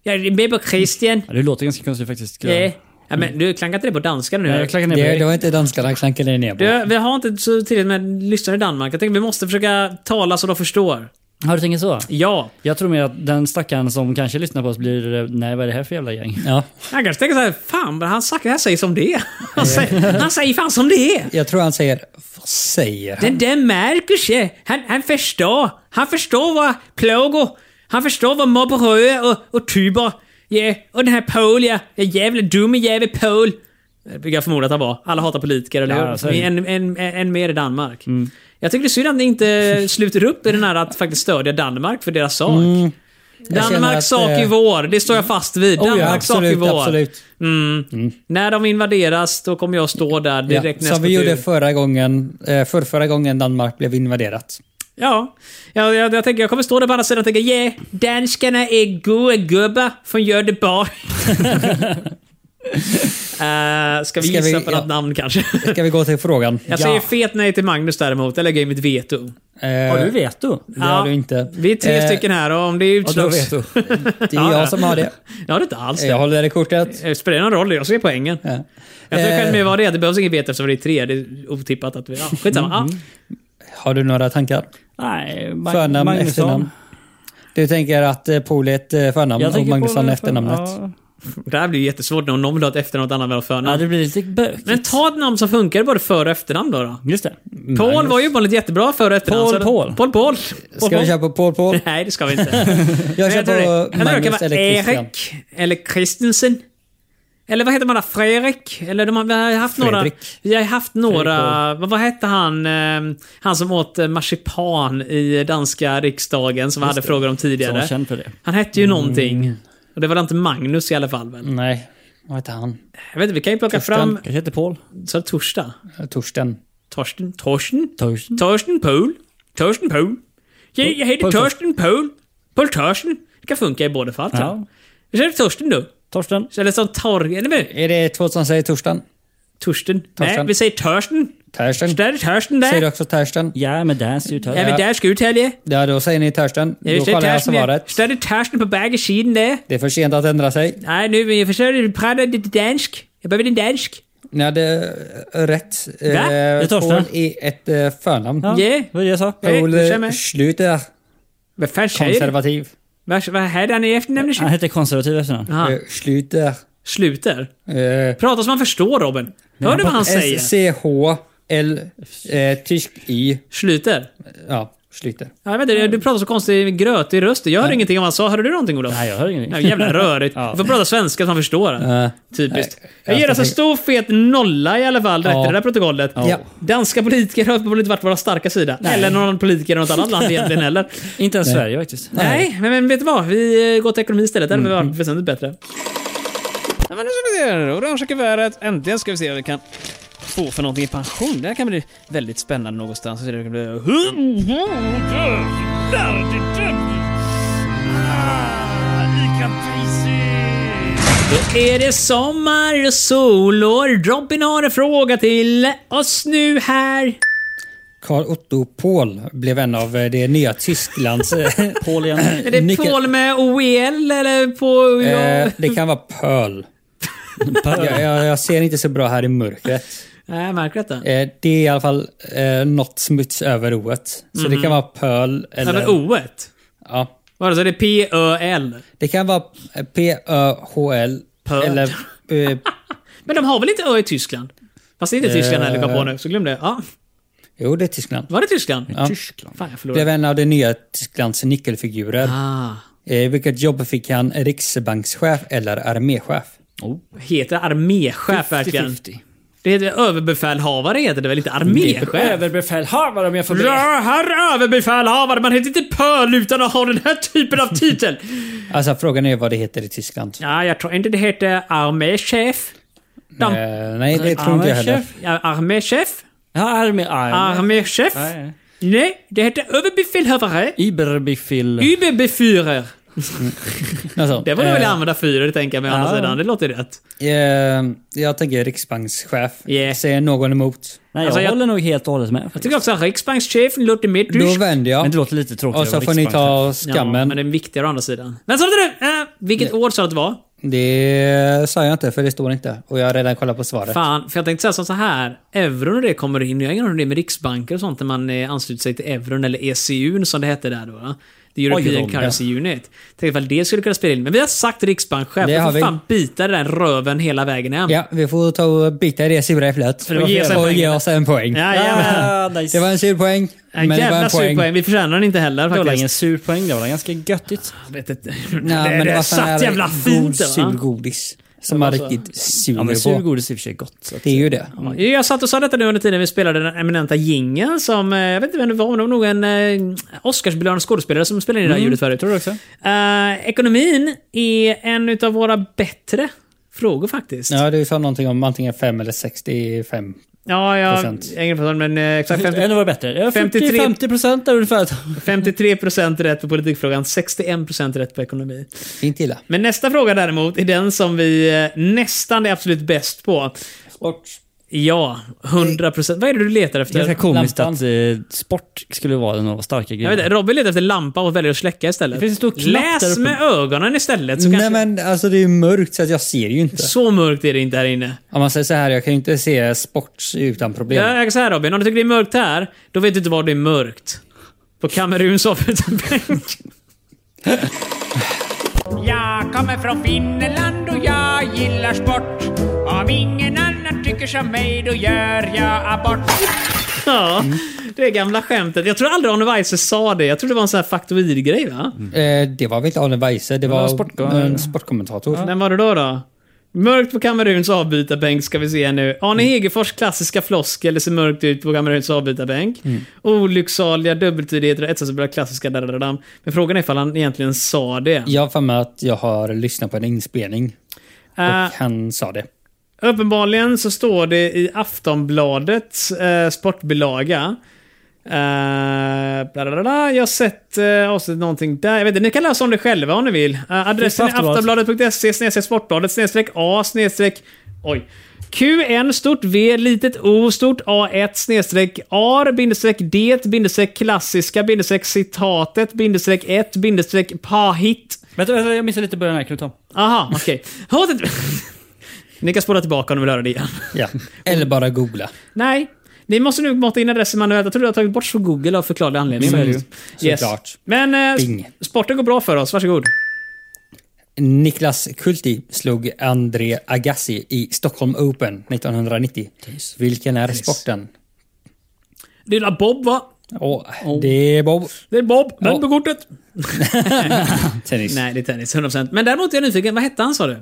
Speaker 1: Jag är med på Christian.
Speaker 5: Ja, det låter ganska konstigt faktiskt.
Speaker 1: Ja. Ja, men du klankar inte det på danska nu?
Speaker 5: Nej, jag klankar ner på
Speaker 2: Det,
Speaker 5: dig.
Speaker 2: det var inte danskarna klankade ner på.
Speaker 1: du, vi har inte så tillräckligt med lyssnare i Danmark. Jag tänker vi måste försöka tala så de förstår.
Speaker 5: Har du tänkt så?
Speaker 1: Ja.
Speaker 5: Jag tror mer att den stackaren som kanske lyssnar på oss blir... eh, Nej, vad är det här för jävla gäng?
Speaker 2: Ja.
Speaker 1: Han kanske tänker så här, fan, men han snackar, han säger som det är." han säger, han säger fan som det är.
Speaker 2: Jag tror han säger... Vad säger han?
Speaker 1: Den där Marcus, ja, han, han förstår. Han förstår vad plågor, han förstår vad mobberöje och, och typer. Ja, och den här Paul ja, den jävla dumme jävel Paul. Det brukar jag förmoda att han var. Alla hatar politiker, eller
Speaker 5: Ja,
Speaker 1: hur?
Speaker 5: så är det. Mm.
Speaker 1: En, en, en, en mer i Danmark. Jag tycker det är synd att ni inte sluter upp i den här att faktiskt stödja Danmark för deras sak.
Speaker 5: Mm.
Speaker 2: Jag känner att,
Speaker 1: Danmarks sak
Speaker 2: eh,
Speaker 1: är vår, det står jag fast vid.
Speaker 2: Oh, ja,
Speaker 1: Danmarks sak är
Speaker 2: absolut,
Speaker 1: vår.
Speaker 2: absolut.
Speaker 1: Mm. När de invaderas, då kommer jag stå där
Speaker 2: Ja,
Speaker 1: direkt nästa
Speaker 2: som vi
Speaker 1: tur.
Speaker 2: gjorde förra gången, eh, förrförra gången Danmark blev invaderat.
Speaker 1: Ja, jag, jag, jag, tänker, jag kommer stå där på andra sidan och tänka yeah, danskarna är goa gubbar från Göteborg. uh, ska vi
Speaker 2: Ska vi-
Speaker 1: gissa på något
Speaker 2: ja.
Speaker 1: namn kanske?
Speaker 2: Ska vi gå till frågan?
Speaker 1: jag säger fet nej till Magnus däremot, jag lägger in mitt veto.
Speaker 2: Eh,
Speaker 5: Har du veto?
Speaker 2: Det har du inte.
Speaker 1: Vi är tre
Speaker 2: Eh,
Speaker 1: stycken här och om det är utslags... Ja,
Speaker 2: Det är jag som har det.
Speaker 1: det är inte alls
Speaker 2: Jag
Speaker 1: det.
Speaker 2: håller i kortet.
Speaker 1: Det spelar ingen roll, jag ser poängen.
Speaker 2: Ja.
Speaker 1: Jag tror jag kan
Speaker 2: Eh,
Speaker 1: med vad det är, det behövs inget veto eftersom det är tre. Det är otippat att vi... Ja,
Speaker 2: Mm,
Speaker 1: skitsamma. Ja.
Speaker 2: Har du några tankar?
Speaker 5: Nej, Mag-
Speaker 2: Förnamn, efternamn? Du tänker att eh, Paul är ett eh, förnamn och
Speaker 5: tänker
Speaker 2: Magnusson
Speaker 5: på-
Speaker 2: är efternamnet?
Speaker 5: Ja.
Speaker 1: Det här blir ju jättesvårt när någon vill ha ett efternamn och ett annat vill ha ett
Speaker 5: ja,
Speaker 1: förnamn.
Speaker 5: det blir lite bökigt.
Speaker 1: Men ta ett namn som funkar både för och efternamn då. då.
Speaker 5: Just det.
Speaker 1: Paul var ju uppenbarligen jättebra för och efternamn.
Speaker 5: Paul,
Speaker 1: så det-
Speaker 5: Paul.
Speaker 1: Paul Paul. Paul,
Speaker 2: Ska
Speaker 1: Paul.
Speaker 2: vi köra på Paul Paul?
Speaker 1: Nej, det ska vi inte.
Speaker 2: Jag kör
Speaker 1: tror det. Jag
Speaker 2: på
Speaker 1: tror det kan
Speaker 2: Magnus
Speaker 1: vara
Speaker 2: eller Christian.
Speaker 1: Erik eller Christensen. Eller vad heter man där? Fredrik? Eller de har, vi har haft några...
Speaker 2: Fredrik.
Speaker 1: Vi har haft några... Vad, vad hette han? eh, Han som åt eh, marsipan i danska riksdagen som vi hade frågor om
Speaker 5: Som var
Speaker 1: tidigare.
Speaker 5: känd för det.
Speaker 1: Han hette ju någonting. Och det var inte Magnus i alla fall väl?
Speaker 2: Nej, vad heter han?
Speaker 1: Jag vet inte, vi kan ju plocka
Speaker 2: Torsten.
Speaker 1: fram...
Speaker 5: Kanske heter Paul?
Speaker 1: Så torsdag?
Speaker 2: Torsten.
Speaker 1: Torsten? Torsten?
Speaker 5: Torsten?
Speaker 1: Torsten Pool. Torsten Pool. Jag, jag heter
Speaker 5: Paul
Speaker 1: Torsten Pool. Paul Torsten. Det kan funka i båda fall. Ja.
Speaker 5: Ja.
Speaker 1: Vi kör Torsten då.
Speaker 5: Torsten?
Speaker 1: Eller som Torg... Eller vad?
Speaker 2: Är det två som säger Torsten?
Speaker 1: Torsten. Nej,
Speaker 2: Torsten.
Speaker 1: vi säger Torsten.
Speaker 2: Torsten.
Speaker 1: Där är Torsten där.
Speaker 2: Säger du också Torsten?
Speaker 5: Ja, men där ser ju
Speaker 1: Ja,
Speaker 5: Torsten.
Speaker 1: men där ska ut här, ja.
Speaker 2: Ja, då säger ni Torsten.
Speaker 1: Ja,
Speaker 2: Då kollar jag svaret.
Speaker 1: Där är Torsten på bägge sidor där.
Speaker 2: Det är för sent att ändra sig.
Speaker 1: Nej, nu jag försöker prata lite dansk. Jag behöver en dansk.
Speaker 2: Ni hade eh, rätt. Eh,
Speaker 1: Det är
Speaker 5: Torsten.
Speaker 2: Paul är ett eh, förnamn.
Speaker 5: Ja,
Speaker 1: Ja.
Speaker 5: Vad är det jag sa?
Speaker 1: Ja.
Speaker 2: Paul
Speaker 1: du känner mig.
Speaker 2: eh, Schlüter.
Speaker 1: Vad fan säger du?
Speaker 2: Konservativ.
Speaker 1: Vad vad hade han i efternamn?
Speaker 5: Han heter konservativ efternamn.
Speaker 1: Aha,
Speaker 2: Eh, Schlüter.
Speaker 1: Sluter.
Speaker 2: Eh,
Speaker 1: Prata så man förstår Robin. Hör du vad han säger?
Speaker 2: SCHL, eh, tysk i,
Speaker 1: Sluter.
Speaker 2: ja, Schlüter.
Speaker 1: Ja, Jag vet inte, du pratar så konstig grötig röst. Jag hörde ingenting om vad han sa. Hörde du någonting Olof?
Speaker 5: Nej, jag hör ingenting.
Speaker 1: Nej, jävla rörigt. Du får prata svenska så man förstår.
Speaker 2: Eh,
Speaker 1: Typiskt.
Speaker 2: nej,
Speaker 1: Jag
Speaker 2: jag
Speaker 1: ger
Speaker 2: ska
Speaker 1: oss en stor fet nolla i alla fall direkt
Speaker 2: Ja.
Speaker 1: i det där protokollet.
Speaker 2: Ja.
Speaker 1: Danska politiker har uppenbarligen inte varit vår starka sida. Eller någon politiker i något annat land egentligen heller.
Speaker 5: Inte ens Sverige faktiskt.
Speaker 1: Nej, men, men vet du vad? Vi eh, går till ekonomi istället. Det hade varit väsentligt bättre. Ja, men nu ska vi se. Orangea kuvertet. Äntligen ska vi se vad vi kan få för någonting i pension? Det här kan bli väldigt spännande någonstans. Så det kan bli... Då är det sommar och solår. Robin har en fråga till oss nu här.
Speaker 2: Karl Otto Paul blev en av eh, det nya Tysklands... eh,
Speaker 5: Paul igen.
Speaker 1: Är det
Speaker 2: Nyckel-
Speaker 1: Paul med OEL eller på...
Speaker 2: eh, det kan vara Pearl. Jag, jag, jag ser inte så bra här i mörkret.
Speaker 1: Nej, jag märker detta.
Speaker 2: Eh, det är i alla fall eh, något smuts över oet. Så det kan vara Pearl eller...
Speaker 1: Mhm. Över O-et?
Speaker 2: Ja.
Speaker 1: Vadå, så det är P-Ö-L?
Speaker 2: Det kan vara eh, P-Ö-H-L.
Speaker 1: Pearl.
Speaker 2: Eller... Eh,
Speaker 1: Men de har väl inte Ö i Tyskland? Fast det är inte Tyskland heller, kom på nu. Så glöm det. Ja,
Speaker 2: jo, det är Tyskland.
Speaker 1: var det Tyskland?
Speaker 5: Tyskland.
Speaker 1: Fan, jag
Speaker 2: Blev
Speaker 1: förlorade.
Speaker 2: en av det nya Tysklands nyckelfigurer.
Speaker 1: Ah,
Speaker 2: Eh, vilket jobb fick han? Riksbankschef eller arméchef?
Speaker 1: heter arméchef verkligen? Det heter överbefälhavare, heter det väl inte arméchef?
Speaker 5: Överbefälhavare om jag får be.
Speaker 1: Ja, herr överbefälhavare! Man heter inte Pöl utan att ha den här typen av titel!
Speaker 2: Alltså frågan är vad det heter i Tyskland.
Speaker 1: ja, jag tror inte det heter arméchef. De,
Speaker 2: Eh, nej, det tror inte jag heller.
Speaker 5: Arméchef?
Speaker 1: ja, arméchef?
Speaker 5: Ja, armé... armé-
Speaker 1: Arméchef?
Speaker 5: Nej.
Speaker 1: Nej, det heter överbefälhavare.
Speaker 5: Überbefehl.
Speaker 1: Überbefyrer.
Speaker 2: Något sånt.
Speaker 1: Det var nog väl
Speaker 2: Eh,
Speaker 1: att använda fyrer, tänker jag mig, å andra sidan. Det låter rätt.
Speaker 2: eh, jag tänker riksbankschef.
Speaker 1: Yeah.
Speaker 2: Säger någon emot.
Speaker 5: Nej, jag
Speaker 1: Alltså, jag-
Speaker 5: håller nog helt och hållet med.
Speaker 1: Jag tycker också att riksbankschefen låter mer
Speaker 2: Då
Speaker 1: tysk.
Speaker 2: vänder
Speaker 5: Men
Speaker 2: jag.
Speaker 5: det låter lite tråkigt.
Speaker 2: Och så
Speaker 5: över
Speaker 2: får ni
Speaker 5: Riksbanken.
Speaker 2: ta
Speaker 1: Ja, men
Speaker 2: skammen.
Speaker 1: den viktiga å andra sidan. Men sa inte du? Äh, vilket år sa du att det var?
Speaker 2: Det sa jag inte, för det står inte. Och jag har redan kollat på svaret.
Speaker 1: Fan, för jag tänkte säga som så här. Euron och det kommer in. Jag har ingen aning om det är med riksbanker och sånt när man eh, ansluter sig till euron eller ECU som det hette där då. va? The European
Speaker 5: Oj,
Speaker 1: Currency Unit. Tänk ifall det skulle kunna spela in. Men vi har sagt riksbankschef.
Speaker 2: Det
Speaker 1: Det
Speaker 2: har
Speaker 1: får
Speaker 2: vi.
Speaker 1: fan bita den där röven hela vägen hem.
Speaker 2: Ja, vi får ta och bita i det sura äpplet.
Speaker 1: det var ge oss en
Speaker 2: Och
Speaker 1: poäng.
Speaker 2: ge oss en poäng.
Speaker 1: Jajamän.
Speaker 5: Ah,
Speaker 2: Det
Speaker 5: nice.
Speaker 2: var en sur poäng.
Speaker 1: En
Speaker 2: men det var
Speaker 1: jävla
Speaker 2: en
Speaker 1: sur
Speaker 2: poäng.
Speaker 1: poäng. Vi förtjänar den inte heller
Speaker 5: Det var
Speaker 1: faktiskt.
Speaker 5: ingen sur poäng. Det var ganska göttigt.
Speaker 1: Jag vet inte.
Speaker 2: Nej,
Speaker 1: det,
Speaker 2: men
Speaker 1: det
Speaker 2: vad fan
Speaker 1: satt
Speaker 2: det?
Speaker 1: jävla
Speaker 2: God
Speaker 1: fint det, va?
Speaker 2: surgodis. Som man riktigt
Speaker 5: Ja, men
Speaker 2: suger på.
Speaker 5: surgodis i och för sig är gott. Så. att-
Speaker 2: Det är ju det.
Speaker 1: Mm. Ja, Jag satt och sa detta nu under tiden vi spelade den eminenta jingeln som, eh, jag vet inte vem det var, men det var nog en eh, Oscarsbelönad skådespelare som spelade in det där ljudet förut.
Speaker 5: Tror du också?
Speaker 1: Eh, ekonomin är en utav våra bättre frågor faktiskt. Ja,
Speaker 2: Ja, du sa någonting om antingen 5 eller 65.
Speaker 1: jag, jag
Speaker 2: Procent.
Speaker 1: är ingen person, men eh, exakt 50,
Speaker 5: Ännu var bättre. Jag
Speaker 1: 53
Speaker 5: 50 procent där ungefär.
Speaker 1: 53% rätt på politikfrågan, 61% rätt på ekonomi.
Speaker 2: Inte illa.
Speaker 1: Men nästa fråga däremot är den som vi eh, nästan är absolut bäst på.
Speaker 2: Sport.
Speaker 1: Ja, 100%. Vad är det du letar efter?
Speaker 5: Ganska komiskt
Speaker 2: Lampan.
Speaker 5: att eh, sport skulle vara den av starka
Speaker 1: Jag vet
Speaker 5: grejerna.
Speaker 1: inte, Robin letar efter lampa och väljer att släcka istället.
Speaker 5: Det finns en stor knapp där
Speaker 1: Läs
Speaker 5: uppe.
Speaker 1: med ögonen istället. Så,
Speaker 2: Nej
Speaker 1: kanske...
Speaker 2: men alltså det är ju mörkt så att jag ser ju inte.
Speaker 1: så mörkt är det inte här inne.
Speaker 2: Om man säger så här, jag kan ju inte se sport utan problem.
Speaker 1: Jag, jag kan säga Robin, om du tycker det är mörkt här, då vet du inte var det är mörkt. På Kameruns avbytarbänk.
Speaker 6: Jag kommer från Finland och jag gillar sport. Om ingen annan tycker som mig då gör jag abort.
Speaker 1: ja, det är gamla skämtet. Jag tror aldrig Arne Weise sa det. Jag tror det var en sån här faktoidgrej va?
Speaker 2: Eh, det var väl inte Arne Weise, det var
Speaker 5: sportko-
Speaker 2: en sportkommentator.
Speaker 1: Vem var det då då? Mörkt på Kameruns avbytarbänk ska vi se nu. Arne Hegerfors klassiska floskel, det ser mörkt ut på Kameruns avbytarbänk. Olycksaliga dubbeltydigheter och etsas klassiska dadadadam. Men frågan är ifall han egentligen sa det.
Speaker 2: Jag har för mig att jag har lyssnat på en inspelning
Speaker 1: Eh,
Speaker 2: och han sa det.
Speaker 1: Uppenbarligen så står det i Aftonbladets eh, sportbilaga. Eh, bla, bla, bla, bla. Jag har sett eh, avsnitt någonting där. Jag vet inte, ni kan läsa om det själva om ni vill. Eh, adressen är
Speaker 5: Finns det Aftonbladet?
Speaker 1: aftonbladet.se snedstreck sportbladet snedstreck A snedstreck Oj. QN stort V litet O stort A1 snedstreck AR bindestreck det bindestreck klassiska bindestreck citatet bindestreck 1 bindestreck pahit.
Speaker 5: Vänta, vänta, jag missade lite början här. Kan du ta om?
Speaker 1: Aha, okej. Hatet- Ni kan spola tillbaka om ni vill höra det igen.
Speaker 2: Ja. Eller bara googla.
Speaker 1: Nej. Ni måste nu mata in adressen manuellt. Jag tror du har tagit bort från Google av förklarliga anledningar.
Speaker 2: Mm.
Speaker 1: Mm. Yes.
Speaker 2: Såklart.
Speaker 1: Men eh,
Speaker 2: Bing.
Speaker 1: sporten går bra för oss. Varsågod.
Speaker 2: Niklas Kulti slog André Agassi i Stockholm Open 1990. Vilken är sporten?
Speaker 1: Det är Bob, va?
Speaker 2: Åh, det är Bob.
Speaker 1: Det är Bob. Vem
Speaker 2: Ja.
Speaker 1: på kortet?
Speaker 2: Tennis.
Speaker 1: Nej, det är tennis. 100%. Men däremot är jag nyfiken. Vad hette han, sa du?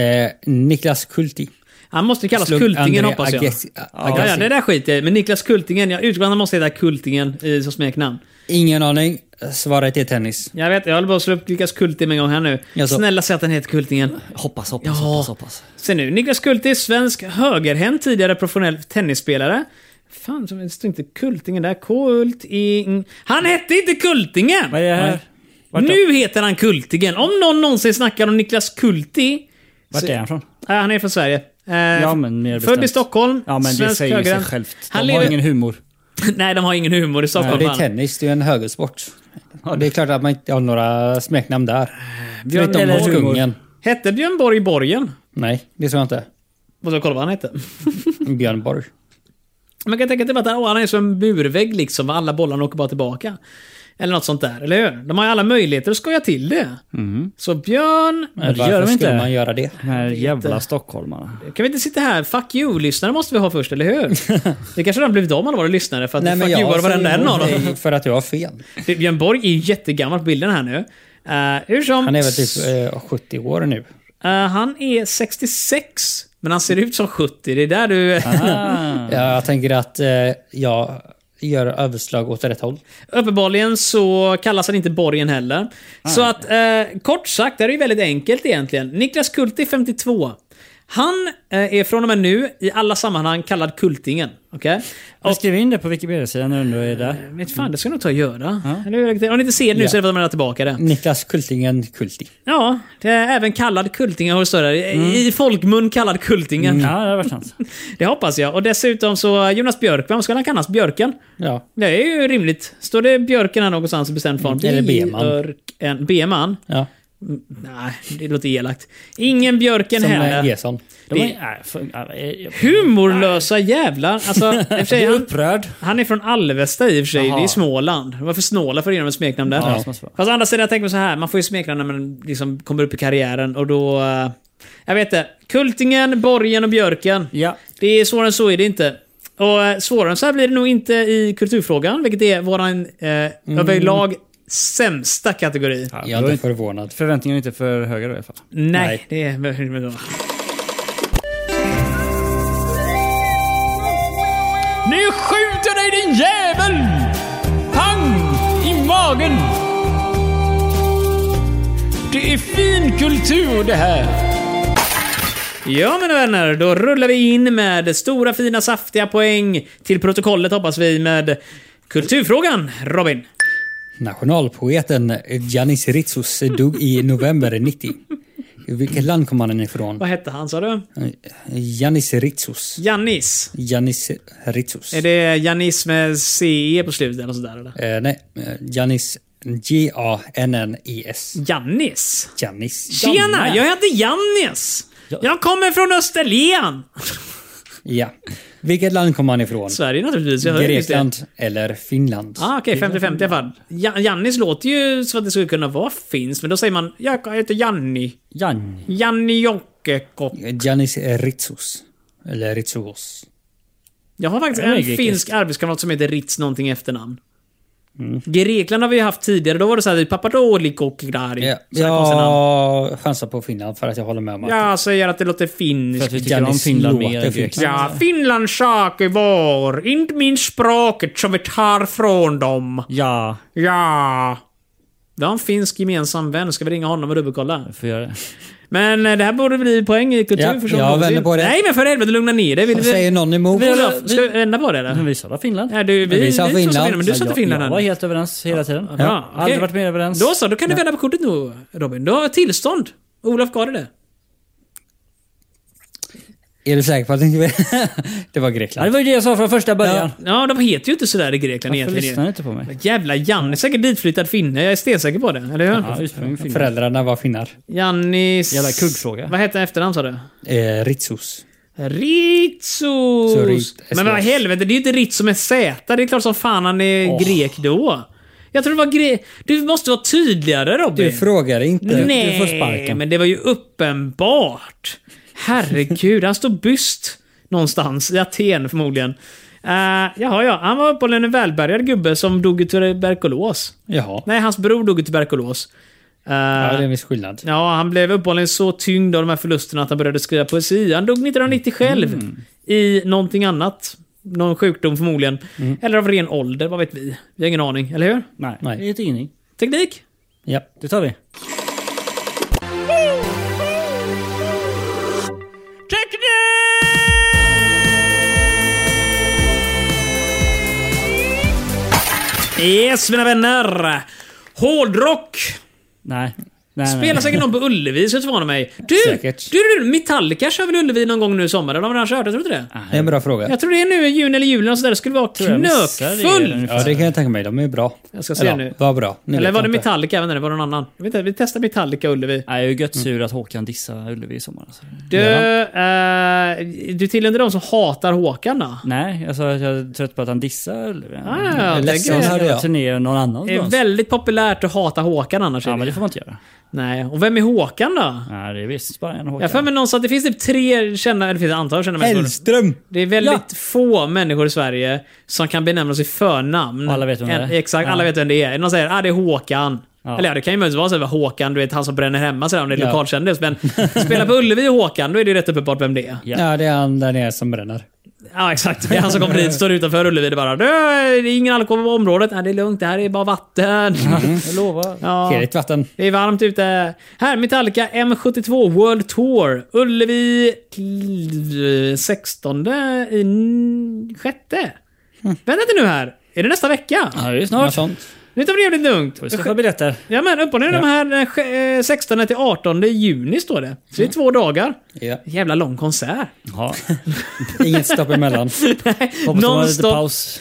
Speaker 2: Eh, Niklas Kulti.
Speaker 1: Han måste kallas
Speaker 2: slog
Speaker 1: Kultingen,
Speaker 2: André
Speaker 1: hoppas jag.
Speaker 2: Agassi-
Speaker 1: Ja, ja,
Speaker 2: Agassi.
Speaker 1: det där skiter jag i. Men Niklas Kultingen. Jag utgår från att han måste heta Kultingen eh, som smeknamn.
Speaker 2: Ingen aning. Svaret är tennis.
Speaker 1: Jag vet, jag håller på att slå upp Niklas Kulting en gång här nu.
Speaker 2: Jaså?
Speaker 1: Snälla säg att den heter Kultingen.
Speaker 5: Hoppas, hoppas,
Speaker 1: Ja.
Speaker 5: hoppas, hoppas.
Speaker 1: Se nu, Niklas Kulting är svensk högerhänt, tidigare professionell tennisspelare. Fan, som det står inte Kultingen där. Kulting... Han hette inte Kultingen!
Speaker 5: Vad är det här? Vart då?
Speaker 1: Nu heter han Kultingen. Om någon någonsin snackar om Niklas Kulti...
Speaker 5: Vart är han från?
Speaker 1: Nej, han är från Sverige. Eh,
Speaker 5: Ja, men mer
Speaker 1: född
Speaker 5: bestämt.
Speaker 1: i Stockholm.
Speaker 5: Ja men det
Speaker 1: svensk
Speaker 5: säger ju sig
Speaker 1: högerhänt.
Speaker 5: självt. De
Speaker 1: Han
Speaker 5: har
Speaker 1: lever...
Speaker 5: ingen humor.
Speaker 1: Nej, de har ingen humor i Stockholm.
Speaker 2: det är
Speaker 1: fan.
Speaker 2: tennis, det är ju en högersport. Det är klart att man inte har några smeknamn där.
Speaker 1: Björn
Speaker 2: Förutom
Speaker 1: Borg.
Speaker 2: hos kungen.
Speaker 1: Hette Björn Borg Borgen?
Speaker 2: Nej, det tror jag inte.
Speaker 1: Måste jag kolla vad han hette.
Speaker 2: Björn Borg.
Speaker 1: Man kan tänka typ att åh, han är som en burvägg liksom, och alla bollarna åker bara tillbaka. Eller något sånt där, eller hur? De har ju alla möjligheter att skoja till det.
Speaker 2: Mm.
Speaker 1: Så Björn...
Speaker 2: Men
Speaker 5: det gör
Speaker 2: varför
Speaker 5: de
Speaker 2: skulle
Speaker 5: inte.
Speaker 2: man göra det?
Speaker 5: De här jävla stockholmarna.
Speaker 1: Kan vi inte sitta här? Fuck you-lyssnare måste vi ha först, eller hur? Det kanske redan blivit av alla våra lyssnare för att fuck you var varenda en av
Speaker 2: säger
Speaker 1: dem.
Speaker 2: nej för att jag har fel.
Speaker 1: Det- Björn Borg är ju jättegammal på bilden här nu. Eh, hur som...
Speaker 2: Han är väl typ eh, 70 år nu.
Speaker 1: Eh, han är 66, men han ser ut som 70. Det är där du...
Speaker 2: Ja, jag tänker att eh, jag gör överslag åt rätt håll.
Speaker 1: Uppenbarligen så kallas han inte Borgen heller. Så att, eh, kort sagt, det här är ju väldigt enkelt egentligen. Niklas Kulti, 52. Han eh, är från och med nu i alla sammanhang kallad Kultingen. Okej?
Speaker 5: Jag
Speaker 1: Och
Speaker 5: skriver in det på Wikipedia-sidan när du är där.
Speaker 1: Vet fan, det ska jag nog ta och göra. Eller hur? Om ni inte ser det nu så är det för att man är tillbaka det.
Speaker 2: Niklas Kultingen Kulti.
Speaker 1: Ja, det är även kallad Kultingen har det stått där.
Speaker 2: Mm.
Speaker 1: I folkmun kallad Kultingen.
Speaker 5: Ja, det har varit sant.
Speaker 1: Det hoppas jag. Och dessutom så, Jonas Björkman, vad ska han kallas? Björken?
Speaker 2: Ja,
Speaker 1: Det är ju rimligt. Står det Björken här någonstans i bestämd form?
Speaker 2: Eller Beman.
Speaker 1: Björken- Beman?
Speaker 2: ja.
Speaker 1: Nej, det låter elakt. Ingen björken
Speaker 2: Som eh,
Speaker 1: heller.
Speaker 2: Gesson.
Speaker 5: De
Speaker 1: Det-
Speaker 5: är, nej, för, nej, jag-
Speaker 1: Humorlösa jävlar. Alltså, i och för sig,
Speaker 5: jag är
Speaker 1: han,
Speaker 5: upprörd.
Speaker 1: han är från Alvesta i och för sig.
Speaker 5: Jaha.
Speaker 1: Det är Småland. Varför snåla för att ge dem ett smeknamn där?
Speaker 5: Ja.
Speaker 1: Fast å andra sidan, jag tänker mig så här. Man får ju smeknamn när man liksom kommer upp i karriären och då... eh, Jag vet inte. Kultingen, Borgen och Björken.
Speaker 5: Ja.
Speaker 1: Det är svårare än så är det inte. Och eh, svårare än så här blir det nog inte i kulturfrågan, vilket är våran eh,
Speaker 5: Mm.
Speaker 1: överlag sämsta kategori.
Speaker 2: Jag är inte förvånad.
Speaker 5: Förväntningarna är inte för höga då i alla fall.
Speaker 1: Nej,
Speaker 2: Nej.
Speaker 1: det är... men då.
Speaker 6: Nu skjuter dig din jävel! Pang! I magen! Det är fin kultur det här.
Speaker 1: Ja mina vänner, då rullar vi in med stora fina saftiga poäng till protokollet hoppas vi med kulturfrågan Robin.
Speaker 2: Nationalpoeten Giannis Ritsos dog i november 90. Vilket land kom han ifrån?
Speaker 1: Vad hette han sa du?
Speaker 2: Giannis Ritsos.
Speaker 1: Jannis.
Speaker 2: Giannis Ritsos.
Speaker 1: Är det Jannis med CE på slutet eller sådär eller?
Speaker 2: Eh, nej, eh, Giannis G-A-N-N-I-S.
Speaker 1: Jannis?
Speaker 2: Giannis.
Speaker 1: Tjena, jag heter Jannis! Jag kommer från Österlen!
Speaker 2: Ja. Vilket land kom han ifrån?
Speaker 1: Sverige naturligtvis. Jag hör ju just det.
Speaker 2: Grekland eller Finland?
Speaker 1: Ah, Okej, 50-50 i alla fall. Ja- Jannis låter ju som att det skulle kunna vara finns, men då säger man jag heter Janni.
Speaker 5: Jan.
Speaker 1: Janni Jokkekokka.
Speaker 2: Giannis Ritsos. Eller Ritsos.
Speaker 1: Jag har faktiskt
Speaker 5: Det är
Speaker 1: en
Speaker 5: grekiskt.
Speaker 1: finsk arbetskamrat som heter Ritz någonting efternamn.
Speaker 5: Mm.
Speaker 1: Grekland har vi haft tidigare. Då var det såhär Papadolikoklari.
Speaker 2: Ja, jag chansar på Finland för att jag håller med om att
Speaker 1: Jag säger att det låter
Speaker 5: För att
Speaker 1: finskt.
Speaker 5: vi tycker om
Speaker 2: Giannis
Speaker 5: Finland
Speaker 2: låter
Speaker 5: mer än
Speaker 2: finns.
Speaker 5: Grekland.
Speaker 1: Ja, Finlands saker var inte min språket som vi tar från dem.
Speaker 5: Ja,
Speaker 1: Ja. Vi har en finsk gemensam vän. Ska vi ringa honom och dubbelkolla?
Speaker 5: jag får göra det.
Speaker 1: Men eh, det här borde bli poäng i kultur
Speaker 2: Ja,
Speaker 1: för som
Speaker 2: jag
Speaker 1: någonsin.
Speaker 2: vänder på det.
Speaker 1: Nej men för helvete, lugna ner dig. Vill
Speaker 2: Vad
Speaker 1: vi-
Speaker 2: säger någon emot?
Speaker 1: Vi håller- Ska vi vända på det
Speaker 5: Men
Speaker 1: eller?
Speaker 5: vi sa då Finland.
Speaker 1: Nej, du, vi,
Speaker 2: vi sa
Speaker 1: vi
Speaker 2: Finland.
Speaker 1: Men du sa inte
Speaker 2: Jag-
Speaker 1: Finland
Speaker 5: Jag
Speaker 1: ännu.
Speaker 5: var helt överens hela tiden. Ja.
Speaker 1: okej.
Speaker 5: Aldrig varit mer överens.
Speaker 1: Då så, då kan du vända på kortet nu Robin. Du har tillstånd. Olof gav dig det.
Speaker 2: Är du säker på att det inte Det var
Speaker 5: Ja, det
Speaker 2: Grekland.
Speaker 5: var ju det jag sa från första början.
Speaker 1: Ja, de heter ju inte sådär i Grekland
Speaker 5: Varför lyssnar
Speaker 1: egentligen.
Speaker 5: ni inte på mig?
Speaker 1: Jävla Janni, säkert ditflyttad finne. Jag är stensäker på det, eller hur?
Speaker 5: Ja, ursprungligen Finland.
Speaker 2: Föräldrarna var finnar.
Speaker 1: Jannis...
Speaker 5: Jävla kuggfråga.
Speaker 1: Vad hette efternamn sa du?
Speaker 2: Eh, Ritsos. Så
Speaker 1: Ritsos!
Speaker 2: Rit-
Speaker 1: Men vad i helvete, det är ju inte Ritz som är Z. Det är klart som fan han är grek då. Jag tror det var gre... Du måste vara tydligare Robin.
Speaker 2: Du frågar inte.
Speaker 1: Nej,
Speaker 2: Du får sparken.
Speaker 1: men det var ju uppenbart. Herregud, han stod byst någonstans. I Aten förmodligen. Uh, jaha, ja. Han var uppenbarligen en välbärgad gubbe som dog i tuberkulos.
Speaker 2: Jaha.
Speaker 1: Nej, hans bror dog i tuberkulos. Eh,
Speaker 2: Ja, det är en viss skillnad.
Speaker 1: Ja, han blev uppenbarligen så tyngd av de här förlusterna att han började skriva poesi. Han dog 1990 själv i någonting annat. någon sjukdom förmodligen. Eller av ren ålder, vad vet vi? Vi har ingen aning, eller hur?
Speaker 5: Nej,
Speaker 2: Nej.
Speaker 5: det är ett inning.
Speaker 1: Teknik?
Speaker 2: Ja.
Speaker 5: Det tar vi.
Speaker 1: Yes, mina vänner! Hårdrock!
Speaker 5: Nej. nej
Speaker 1: Spelar
Speaker 5: nej.
Speaker 1: säkert någon på Ullevi, så jag förvånar mig. Du,
Speaker 2: Säkert.
Speaker 1: du, du, Metallica kör väl Ullevi någon gång nu i sommar? Eller har vi redan kört? Jag tror inte det.
Speaker 2: Det är en bra fråga.
Speaker 1: Jag tror det är nu i juni eller juli, och sådär. det skulle vara
Speaker 5: jag missade det
Speaker 1: knökfull.
Speaker 5: ungefär.
Speaker 2: Ja, det kan jag tänka mig. De är bra.
Speaker 1: Jag ska se
Speaker 2: Eller,
Speaker 1: nu.
Speaker 2: Vad bra. Nu
Speaker 1: Eller
Speaker 2: vet
Speaker 1: var det
Speaker 2: jag inte.
Speaker 1: Metallica? Jag vet inte, var det någon annan? Jag vet inte, vi testar Metallica och Ullevi.
Speaker 5: Nej, jag är ju gött sur att Håkan dissar Ullevi i sommar. Alltså.
Speaker 1: Du, eh, du tillhör inte de som hatar Håkan då?
Speaker 5: Nej, jag sa att jag är trött på att han dissar Ullevi. Mm.
Speaker 1: Ah,
Speaker 5: Han
Speaker 1: jag
Speaker 2: ledsen
Speaker 1: tänker-
Speaker 2: här.
Speaker 5: ska
Speaker 2: hörde jag.
Speaker 5: turnera någon
Speaker 1: det är
Speaker 5: annanstans.
Speaker 1: väldigt populärt att hata Håkan annars. är
Speaker 5: Ja,
Speaker 1: det.
Speaker 5: men det får man inte göra.
Speaker 1: Nej, och vem är Håkan då?
Speaker 5: Nej, det är visst bara en Håkan.
Speaker 1: Jag har för mig någonstans att det finns typ tre kända, eller det finns ett antal kända människor.
Speaker 2: Hellström!
Speaker 1: Det är väldigt få människor i Sverige som kan benämnas i förnamn.
Speaker 5: Och alla vet vem det är.
Speaker 1: En- Exakt,
Speaker 5: Ja.
Speaker 1: alla vet vem det är. Någon säger ah, det är Håkan.
Speaker 5: Ja.
Speaker 1: Eller ja, det kan ju möjligtvis vara så här, Håkan, du vet han som bränner hemma sådär, om det är
Speaker 2: Ja.
Speaker 1: lokalkändis. Men spela på Ullevi och Håkan, då är det ju rätt uppenbart vem det är.
Speaker 5: Ja.
Speaker 2: Ja, det är han där nere som bränner.
Speaker 1: Ja, exakt. Det är han som kommer hit, står utanför Ullevi och bara "Du, det är ingen alkohol på området. Nej, det är lugnt, det här är bara vatten.
Speaker 5: Jag lovar.
Speaker 1: Mm. Ja.
Speaker 2: Heligt vatten.
Speaker 1: Det är varmt ute. Här, Metallica M72 World Tour. Ullevi kl- 16 i n- sjätte. Vänta inte nu här. Är det nästa vecka?
Speaker 5: Mm. Ja, det är ju
Speaker 2: Något
Speaker 5: snart.
Speaker 2: sånt.
Speaker 1: Nu tar vi det jävligt lugnt.
Speaker 5: Vi ska få biljetter.
Speaker 1: Ja men upp och ner de här eh, sj- eh, 16 till 18 juni står det. Så
Speaker 5: Mm.
Speaker 1: det är två dagar.
Speaker 2: Ja.
Speaker 1: Jävla lång konsert.
Speaker 5: Ja.
Speaker 2: Inget stopp emellan.
Speaker 5: Hoppas de har lite
Speaker 1: Nonstop.
Speaker 5: paus.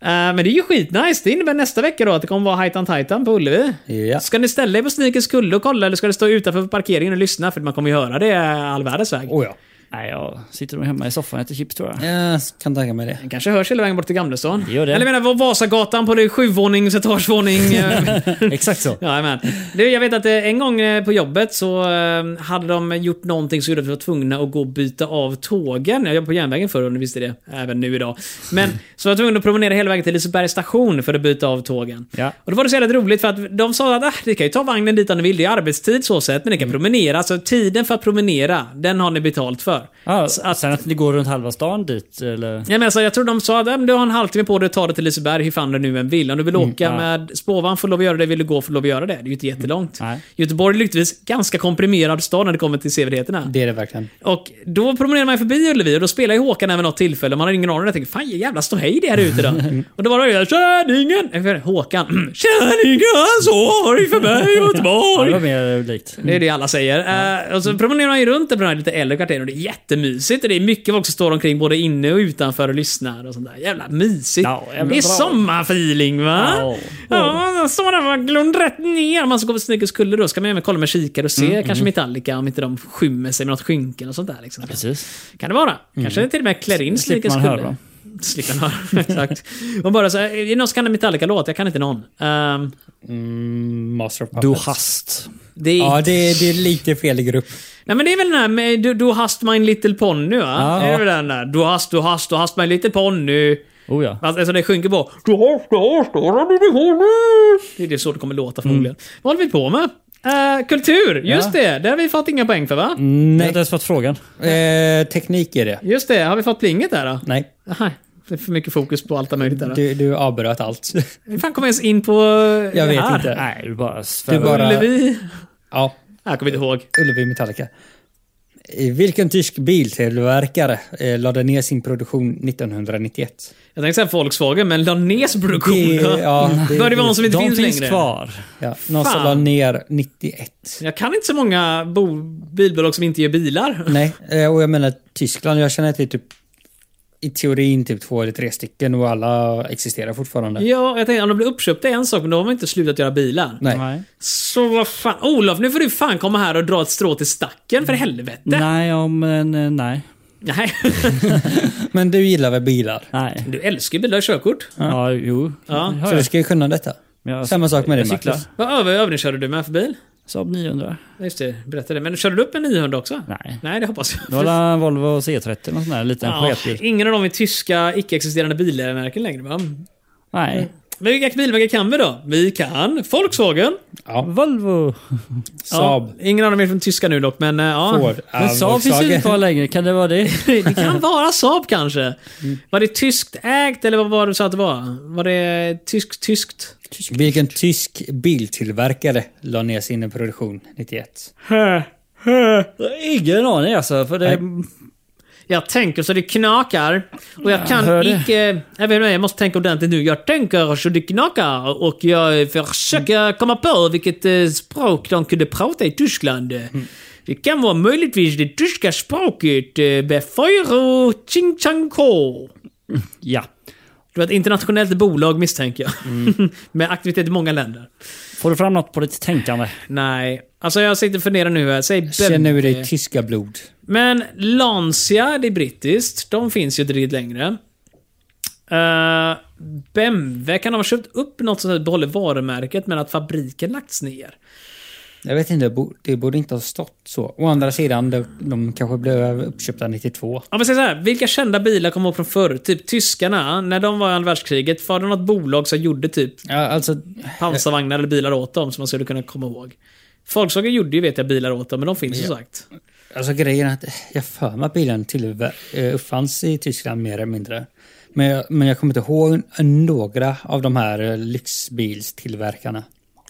Speaker 1: Eh, men det är ju skitnice. Det innebär nästa vecka då att det kommer vara Heitan Titan på Ullevi.
Speaker 2: Ja.
Speaker 1: Ska ni ställa er på Sneakers kulle och kolla eller ska ni stå utanför parkeringen och lyssna? För man kommer ju höra det eh, all världens väg.
Speaker 2: Oh, ja.
Speaker 5: Nej, jag sitter nog hemma i soffan och äter chips tror jag.
Speaker 2: Jag kan tänka mig det.
Speaker 1: Den kanske hörs hela vägen bort till Gamlestan.
Speaker 5: Det gör det.
Speaker 1: Eller jag menar vad- Vasagatan på det sjuvånings, etagevåning. eh,
Speaker 5: Exakt så.
Speaker 1: Jajamän. Du, jag vet att eh, en gång eh, på jobbet så eh, hade de gjort någonting så gjorde att vi var tvungna att gå och byta av tågen. Jag jobbade på järnvägen förr om ni visste det. Även nu idag. Men så var jag tvungen att promenera hela vägen till Lisebergs station för att byta av tågen.
Speaker 5: Ja.
Speaker 1: Och då var det så jävligt roligt för att de sa att ah, ni kan ju ta vagnen dit om ni vill. Det är arbetstid så sett, men ni kan promenera. Så tiden för att promenera, den har ni betalt för.
Speaker 5: Ja, att sen att ni går runt halva stan dit eller?
Speaker 1: Ja, men alltså, jag tror de sa att "Ja, men du har en halvtimme på dig att ta dig till Liseberg hur fan du nu än vill. Om du vill åka med spårvagn får du lov att göra det, vill du gå får du lov att göra det. Det är ju inte jättelångt.
Speaker 5: Nej.
Speaker 1: Göteborg är lyckligtvis ganska komprimerad stad när det kommer till sevärdheterna.
Speaker 2: Det är det verkligen.
Speaker 1: Och då promenerar man ju förbi Ullevi och då spelar ju Håkan även något tillfälle. Man har ingen aning. Jag tänker, fan jävla ståhej det här ute då. och då var det ju Kärringen! Jag vet inte, Håkan. Kärringen, sorg för mig
Speaker 5: Ja, det
Speaker 1: Göteborg!
Speaker 5: var mer likt.
Speaker 1: Det är det alla säger.
Speaker 5: Mm.
Speaker 1: Eh, och så promenerar man ju runt där på den här lite äldre kvarteren och det är jättemysigt. Och det är mycket folk som står omkring både inne och utanför och lyssnar och sånt där. Jävla mysigt.
Speaker 5: Ja, jävla
Speaker 1: det är
Speaker 5: bra.
Speaker 1: sommarfeeling va?
Speaker 5: Ja.
Speaker 1: Ja, man står där och glömmer rätt ner. Om man ska gå på Snickers kulle då ska man även kolla med kikare och se
Speaker 5: Mm,
Speaker 1: kanske Metallica om inte de skymmer sig med något skynken och sånt där. Liksom.
Speaker 5: Precis. Mm.
Speaker 1: Kan det vara. Kanske till och med klär in
Speaker 5: Slipper
Speaker 1: Snickers
Speaker 5: man höra
Speaker 1: kulle.
Speaker 5: dem.
Speaker 1: Slipper man höra. Exakt. Och bara så här, är det någon som kan en Metallica-låt? Jag kan inte någon. Ehm,
Speaker 2: Mm, Master of Puppets.
Speaker 5: Du hast.
Speaker 1: det är
Speaker 2: Ja, det är, det är lite fel grupp.
Speaker 1: Nej men det är väl den här med du, du hast min little ponny va? Är det väl den där? Du hast, du hast, du hast min little ponny.
Speaker 5: Oh ja.
Speaker 1: Alltså det sjunker på. Du hast, du hast, du hast min little ponny. Det är det så det kommer låta förmodligen.
Speaker 2: Mm.
Speaker 1: Vad håller vi på med? Eh, kultur, just det. Det har vi fått inga poäng för va?
Speaker 2: Mm.
Speaker 5: Jag har inte ens fått frågan.
Speaker 2: Eh, teknik är det.
Speaker 1: Just det, har vi fått plinget där då?
Speaker 2: Nej,
Speaker 1: Nej. Det är för mycket fokus på allt möjligt där. då.
Speaker 2: du, du avbröt allt.
Speaker 1: Hur fan kom jag ens in på eh,
Speaker 2: Mm. Jag
Speaker 1: det
Speaker 2: vet
Speaker 1: här?
Speaker 2: inte.
Speaker 5: Nej, du bara
Speaker 2: Du
Speaker 5: svävar.
Speaker 2: bara...
Speaker 1: Ullevi?
Speaker 2: Ja,
Speaker 1: Jag kommer inte ihåg.
Speaker 2: Ullevi Metallica. Eh, Vilken tysk biltillverkare eh, lade ner sin produktion 1991?
Speaker 1: Jag tänkte säga Volkswagen, men la ner sin produktion.
Speaker 2: Det, ja, det,
Speaker 1: Bör det vara någon som inte
Speaker 5: De
Speaker 1: finns,
Speaker 5: finns,
Speaker 1: längre?
Speaker 5: kvar.
Speaker 2: ja, någon som
Speaker 1: Fan.
Speaker 2: lade ner 91.
Speaker 1: Jag kan inte så många bo- bilbolag som inte gör bilar.
Speaker 2: Nej, eh, och jag menar Tyskland, jag känner till typ i teorin typ två eller tre stycken och alla existerar fortfarande.
Speaker 1: Ja, jag tänkte om de blir uppköpta är en sak, men då har man inte slutat göra bilar.
Speaker 2: Nej.
Speaker 1: Så vad fan. Olof, nu får du fan komma här och dra ett strå till stacken, för helvete.
Speaker 5: Mm. Nej, om... eh, Nej.
Speaker 1: Nej.
Speaker 2: Men du gillar väl bilar?
Speaker 5: Nej.
Speaker 1: Du älskar ju bilar och körkort.
Speaker 5: Ja, jo.
Speaker 1: Ja.
Speaker 2: Så du ska ju kunna detta.
Speaker 5: Men jag-
Speaker 2: Samma sak med dig
Speaker 5: jag cyklar.
Speaker 2: Marcus.
Speaker 1: Vad över, övning körde du med för bil?
Speaker 5: Saab 900.
Speaker 1: Just det, berätta det. Men körde du upp en 900 också?
Speaker 5: Nej.
Speaker 1: Nej, det hoppas
Speaker 5: Det
Speaker 1: jag.
Speaker 5: var en Volvo C30, någon sån där liten
Speaker 1: Ja,
Speaker 5: sketbil.
Speaker 1: ingen av dem är tyska icke-existerande bilmärken längre va?
Speaker 5: Nej.
Speaker 1: Men vilka bilmärken kan vi då? Vi kan Volkswagen.
Speaker 2: Ja.
Speaker 5: Volvo.
Speaker 2: Saab.
Speaker 1: Ja, ingen av dem är från tyska nu dock, men eh, ja.
Speaker 2: Ford.
Speaker 5: Men Saab finns ju inte kvar längre, kan det vara det?
Speaker 1: Det kan vara Saab kanske. Var det tyskt ägt eller vad var det du sa att det var? Var det tyskt tyskt?
Speaker 2: Vilken tysk biltillverkare la ner sin produktion 91?
Speaker 5: Ingen aning alltså. För det,
Speaker 1: Jag tänker så det knakar. Och jag kan
Speaker 5: hör det.
Speaker 1: icke... Jag, vet inte, jag måste tänka ordentligt nu. Jag tänker så det knakar och jag försöker komma på vilket eh, språk de kunde prata i Tyskland. Det kan vara möjligtvis det tyska språket. eh, Befeuro Chingchanko.
Speaker 5: ja.
Speaker 1: Det var ett internationellt bolag misstänker jag.
Speaker 5: Mm.
Speaker 1: Med aktivitet i många länder.
Speaker 5: Får du fram något på ditt tänkande?
Speaker 1: Nej. Alltså jag sitter och funderar nu här. Säg
Speaker 2: Känner vi
Speaker 1: Bembe.
Speaker 2: det tyska blod?
Speaker 1: Men Lancia, det är brittiskt. De finns ju inte riktigt längre. Uh, BMW, kan de ha köpt upp något sånt här behåller varumärket men att fabriken lagts ner?
Speaker 2: Jag vet inte, bo- det borde inte ha stått så. Å andra sidan, de, de kanske blev uppköpta 92.
Speaker 1: Om vi säger så här, vilka kända bilar kommer ihåg från förr? Typ tyskarna, när de var i andra världskriget, var det något bolag som gjorde typ
Speaker 2: Ja, alltså,
Speaker 1: pansarvagnar eller bilar åt dem som man skulle kunna komma ihåg? Volkswagen gjorde ju vet jag bilar åt dem, men de finns ju som sagt.
Speaker 2: alltså grejen är att jag för mig att bilen tillver- eh, uppfanns i Tyskland mer eller mindre. Men jag, men jag kommer inte ihåg några av de här eh, lyxbilstillverkarna.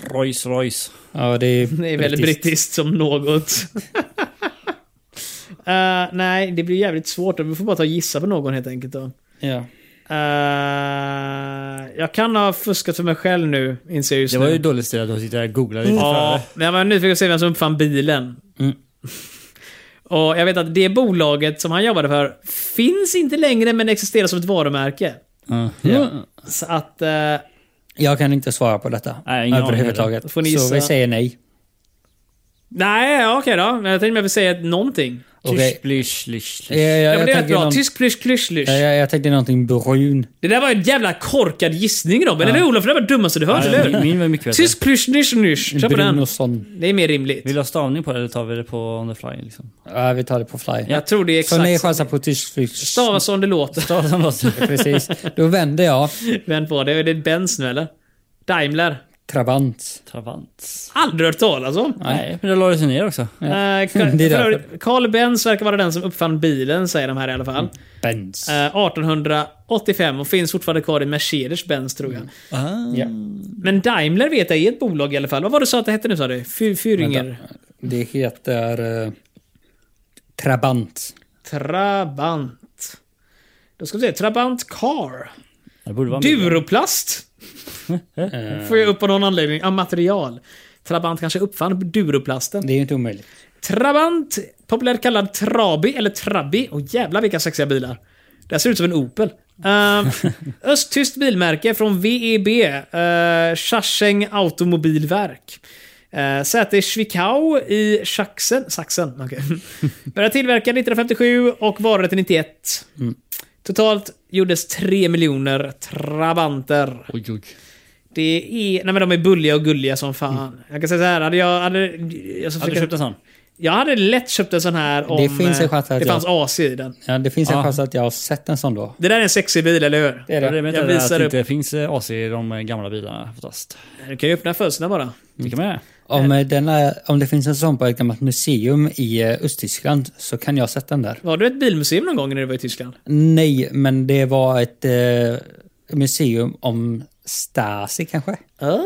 Speaker 5: Rolls Royce.
Speaker 2: Ja, det är,
Speaker 1: Det är väldigt brittiskt som något. Eh, nej, det blir jävligt svårt. Vi får bara ta och gissa på någon helt enkelt då.
Speaker 2: Ja.
Speaker 1: Eh, jag kan ha fuskat för mig själv nu, inser jag just
Speaker 5: Det var
Speaker 1: nu.
Speaker 5: ju dåligt stil att du sitter där och googlar lite
Speaker 1: Ja, men jag var nyfiken på att se vem som uppfann bilen.
Speaker 2: Mm.
Speaker 1: och jag vet att det bolaget som han jobbade för finns inte längre men existerar som ett varumärke.
Speaker 5: före.
Speaker 2: Ja.
Speaker 1: Så att... eh,
Speaker 2: Jag kan inte svara på detta
Speaker 5: Nej, ingen aning
Speaker 2: överhuvudtaget.
Speaker 1: heller. Får ni gissa?
Speaker 2: Så vi säger nej.
Speaker 1: nej, ja, okej då. Men Jag tänkte mig säga någonting.
Speaker 2: Okej.
Speaker 5: Tysch, blysch, lysch,
Speaker 2: Jag,
Speaker 5: lysch.
Speaker 2: Eh, jag,
Speaker 1: Ja, men
Speaker 2: jag,
Speaker 1: det är rätt
Speaker 2: tänker
Speaker 1: bra.
Speaker 2: någon, Eh,
Speaker 1: Tysk plysch klysch lysch.
Speaker 2: jag, jag, jag tänkte någonting brun.
Speaker 1: Det där var en jävla korkad gissning Robin. Eller hur Olof? Det där var det dummaste du hört,
Speaker 5: Ja,
Speaker 1: eller
Speaker 5: min-
Speaker 1: hur?
Speaker 5: Min var mycket bättre.
Speaker 1: Tysk plysch nysch nysch. Kör på den.
Speaker 2: Brunnosson.
Speaker 1: Det är mer rimligt.
Speaker 5: Vill du ha stavning på det eller tar vi det på on the fly? Liksom?
Speaker 2: Ja, vi tar det på fly.
Speaker 1: Jag tror det är
Speaker 2: Så ni
Speaker 1: exakt...
Speaker 2: chansar på tysk flyg?
Speaker 1: Stava som det låter.
Speaker 5: Stav som låter.
Speaker 2: Precis. Då vänder jag.
Speaker 1: Vänd på det. Är det Benz nu eller? Daimler.
Speaker 2: Trabant.
Speaker 5: Travant.
Speaker 1: Aldrig hört talas om.
Speaker 5: Nej, men det lades ju ner också.
Speaker 1: Eh,
Speaker 2: det är
Speaker 1: för övrigt, Carl Benz verkar vara den som uppfann bilen, säger de här i alla fall.
Speaker 2: Benz.
Speaker 1: Eh, 1885 och finns fortfarande kvar i Mercedes-Benz, tror jag.
Speaker 2: Ja.
Speaker 1: Men Daimler vet jag är ett bolag i alla fall. Vad var det du sa att det hette nu, sa du? Fy- Fyringer?
Speaker 2: Det heter... eh, Trabant.
Speaker 1: Trabant. Då ska vi se. Trabant Car.
Speaker 5: Det borde vara mindre.
Speaker 1: Duroplast. Får jag upp av någon anledning. Ja, material. Trabant kanske uppfann duroplasten.
Speaker 2: Det är ju inte omöjligt.
Speaker 1: Trabant, populärt kallad Trabi eller Trabi. Och jävlar vilka sexiga bilar. Det här ser ut som en Opel. Ehm, östtyskt bilmärke från VEB, uh, Schascheng Automobilverk. Uh, säte i Schwickau i Sachsen. Sachsen okay. Började tillverka 1957 och varade till 91.
Speaker 5: Mm.
Speaker 1: Totalt gjordes 3 miljoner Trabanter.
Speaker 5: Oj, oj.
Speaker 1: Det är, nej men de är bulliga och gulliga som fan. Jag kan säga så här, hade jag... Hade, jag ska
Speaker 5: Mm. Hade du
Speaker 1: försöka-
Speaker 5: köpt en sån?
Speaker 1: jag hade lätt köpt en sån här om
Speaker 2: Det finns en
Speaker 1: eh,
Speaker 2: chans att
Speaker 1: det
Speaker 2: jag-
Speaker 1: fanns AC i den.
Speaker 2: Ja, det finns en
Speaker 5: Ja.
Speaker 2: chans att jag har sett en sån då.
Speaker 1: Det där är en sexig bil, eller hur?
Speaker 2: Det är
Speaker 5: Ja, det är
Speaker 2: det.
Speaker 5: väl
Speaker 1: Jag
Speaker 5: inte det
Speaker 1: visar
Speaker 5: att det
Speaker 1: upp.
Speaker 5: inte finns eh, AC i de eh, gamla bilarna oftast.
Speaker 1: Du kan ju öppna fönstren bara.
Speaker 5: Tycker man det?
Speaker 2: Om, eh, den är, om det finns en sån på ett gammalt museum i eh, Östtyskland så kan jag ha sett den där.
Speaker 1: Var du ett bilmuseum någon gång när du var i Tyskland?
Speaker 2: Nej, men det var ett eh, museum om Stasi kanske? Ah,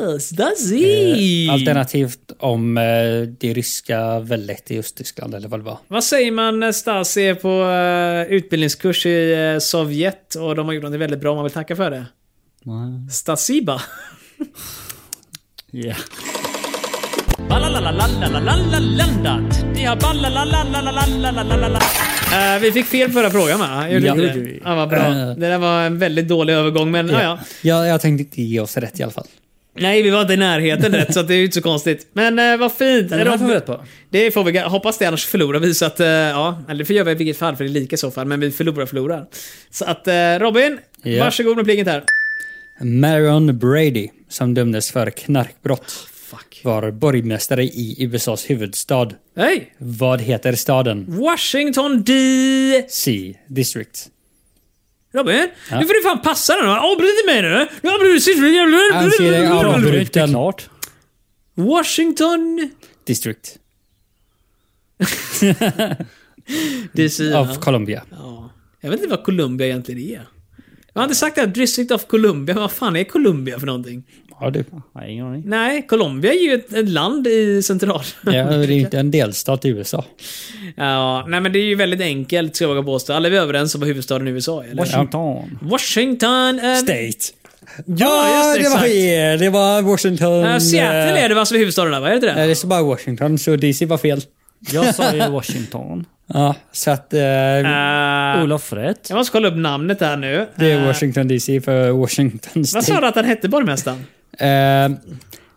Speaker 1: Oh, Stasi!
Speaker 2: Alternativt om eh, det ryska väldet i Östtyskland eller vad det var.
Speaker 1: Vad säger man när Stasi är på eh, utbildningskurs i eh, Sovjet och de har gjort något väldigt bra om man vill tacka för det? Stasiba.
Speaker 5: Ja.
Speaker 1: Eh, vi fick fel förra frågan va? Gjorde
Speaker 2: Ja,
Speaker 1: vi inte
Speaker 2: det gjorde
Speaker 1: det?
Speaker 2: vi.
Speaker 1: Ja, vad bra.
Speaker 2: Eh.
Speaker 1: Det där var en väldigt dålig övergång, men ja, ja.
Speaker 2: Jag, jag tänkte inte ge oss rätt i alla fall.
Speaker 1: Nej, vi var inte i närheten rätt, så att det är ju inte så konstigt. Men eh, vad fint.
Speaker 5: Den här får vi rätt på.
Speaker 1: Det får vi ga- hoppas det, annars förlorar vi. Så att, eh, ja, eller det får göra vi i vilket fall, för det är lika i så fall. Men vi förlorar förlorar. Så att eh, Robin,
Speaker 2: Ja.
Speaker 1: varsågod med plinget här.
Speaker 2: Marion Brady, som dömdes för knarkbrott,
Speaker 1: Fuck.
Speaker 2: var borgmästare i USAs huvudstad.
Speaker 1: Hej!
Speaker 2: Vad heter staden?
Speaker 1: Washington D...
Speaker 2: C. District.
Speaker 1: Robin, nu får du fan passa den. Avbryt inte mig nu. Nu avbryter du. jävlar.
Speaker 2: Anser dig
Speaker 5: Det är
Speaker 2: avbruten.
Speaker 5: klart.
Speaker 1: Washington
Speaker 2: District
Speaker 1: DC.
Speaker 2: of Columbia.
Speaker 1: Ja. Jag vet inte vad Columbia egentligen är. Jag har inte sagt det här, District of Columbia, men vad fan är Columbia för någonting?
Speaker 2: Ja, du.
Speaker 5: Nej, ingen aning.
Speaker 1: Nej, Colombia är ju ett, ett land i central...
Speaker 2: Ja, det är ju inte en delstat i USA.
Speaker 1: ja, nej men det är ju väldigt enkelt, ska jag våga påstå. Alla är vi överens om vad huvudstaden i USA är, eller?
Speaker 5: Washington.
Speaker 1: Washington... eh,
Speaker 2: State.
Speaker 1: Ja, just det,
Speaker 2: det var
Speaker 1: exakt.
Speaker 2: er. Det var Washington.
Speaker 1: eh, Seattle
Speaker 2: eh,
Speaker 1: är det va, som är huvudstaden där, va? Är det inte
Speaker 2: Nej,
Speaker 1: det?
Speaker 2: det står bara Washington, så DC var fel.
Speaker 5: Jag sa ju Washington.
Speaker 2: Ja, så att... eh,
Speaker 1: Eh,
Speaker 5: Olof rätt.
Speaker 1: jag måste kolla upp namnet här nu.
Speaker 2: det är
Speaker 1: Eh,
Speaker 2: Washington DC för Washington
Speaker 1: Vad sa
Speaker 2: State.
Speaker 1: du att han hette, borgmästaren?
Speaker 2: Eh,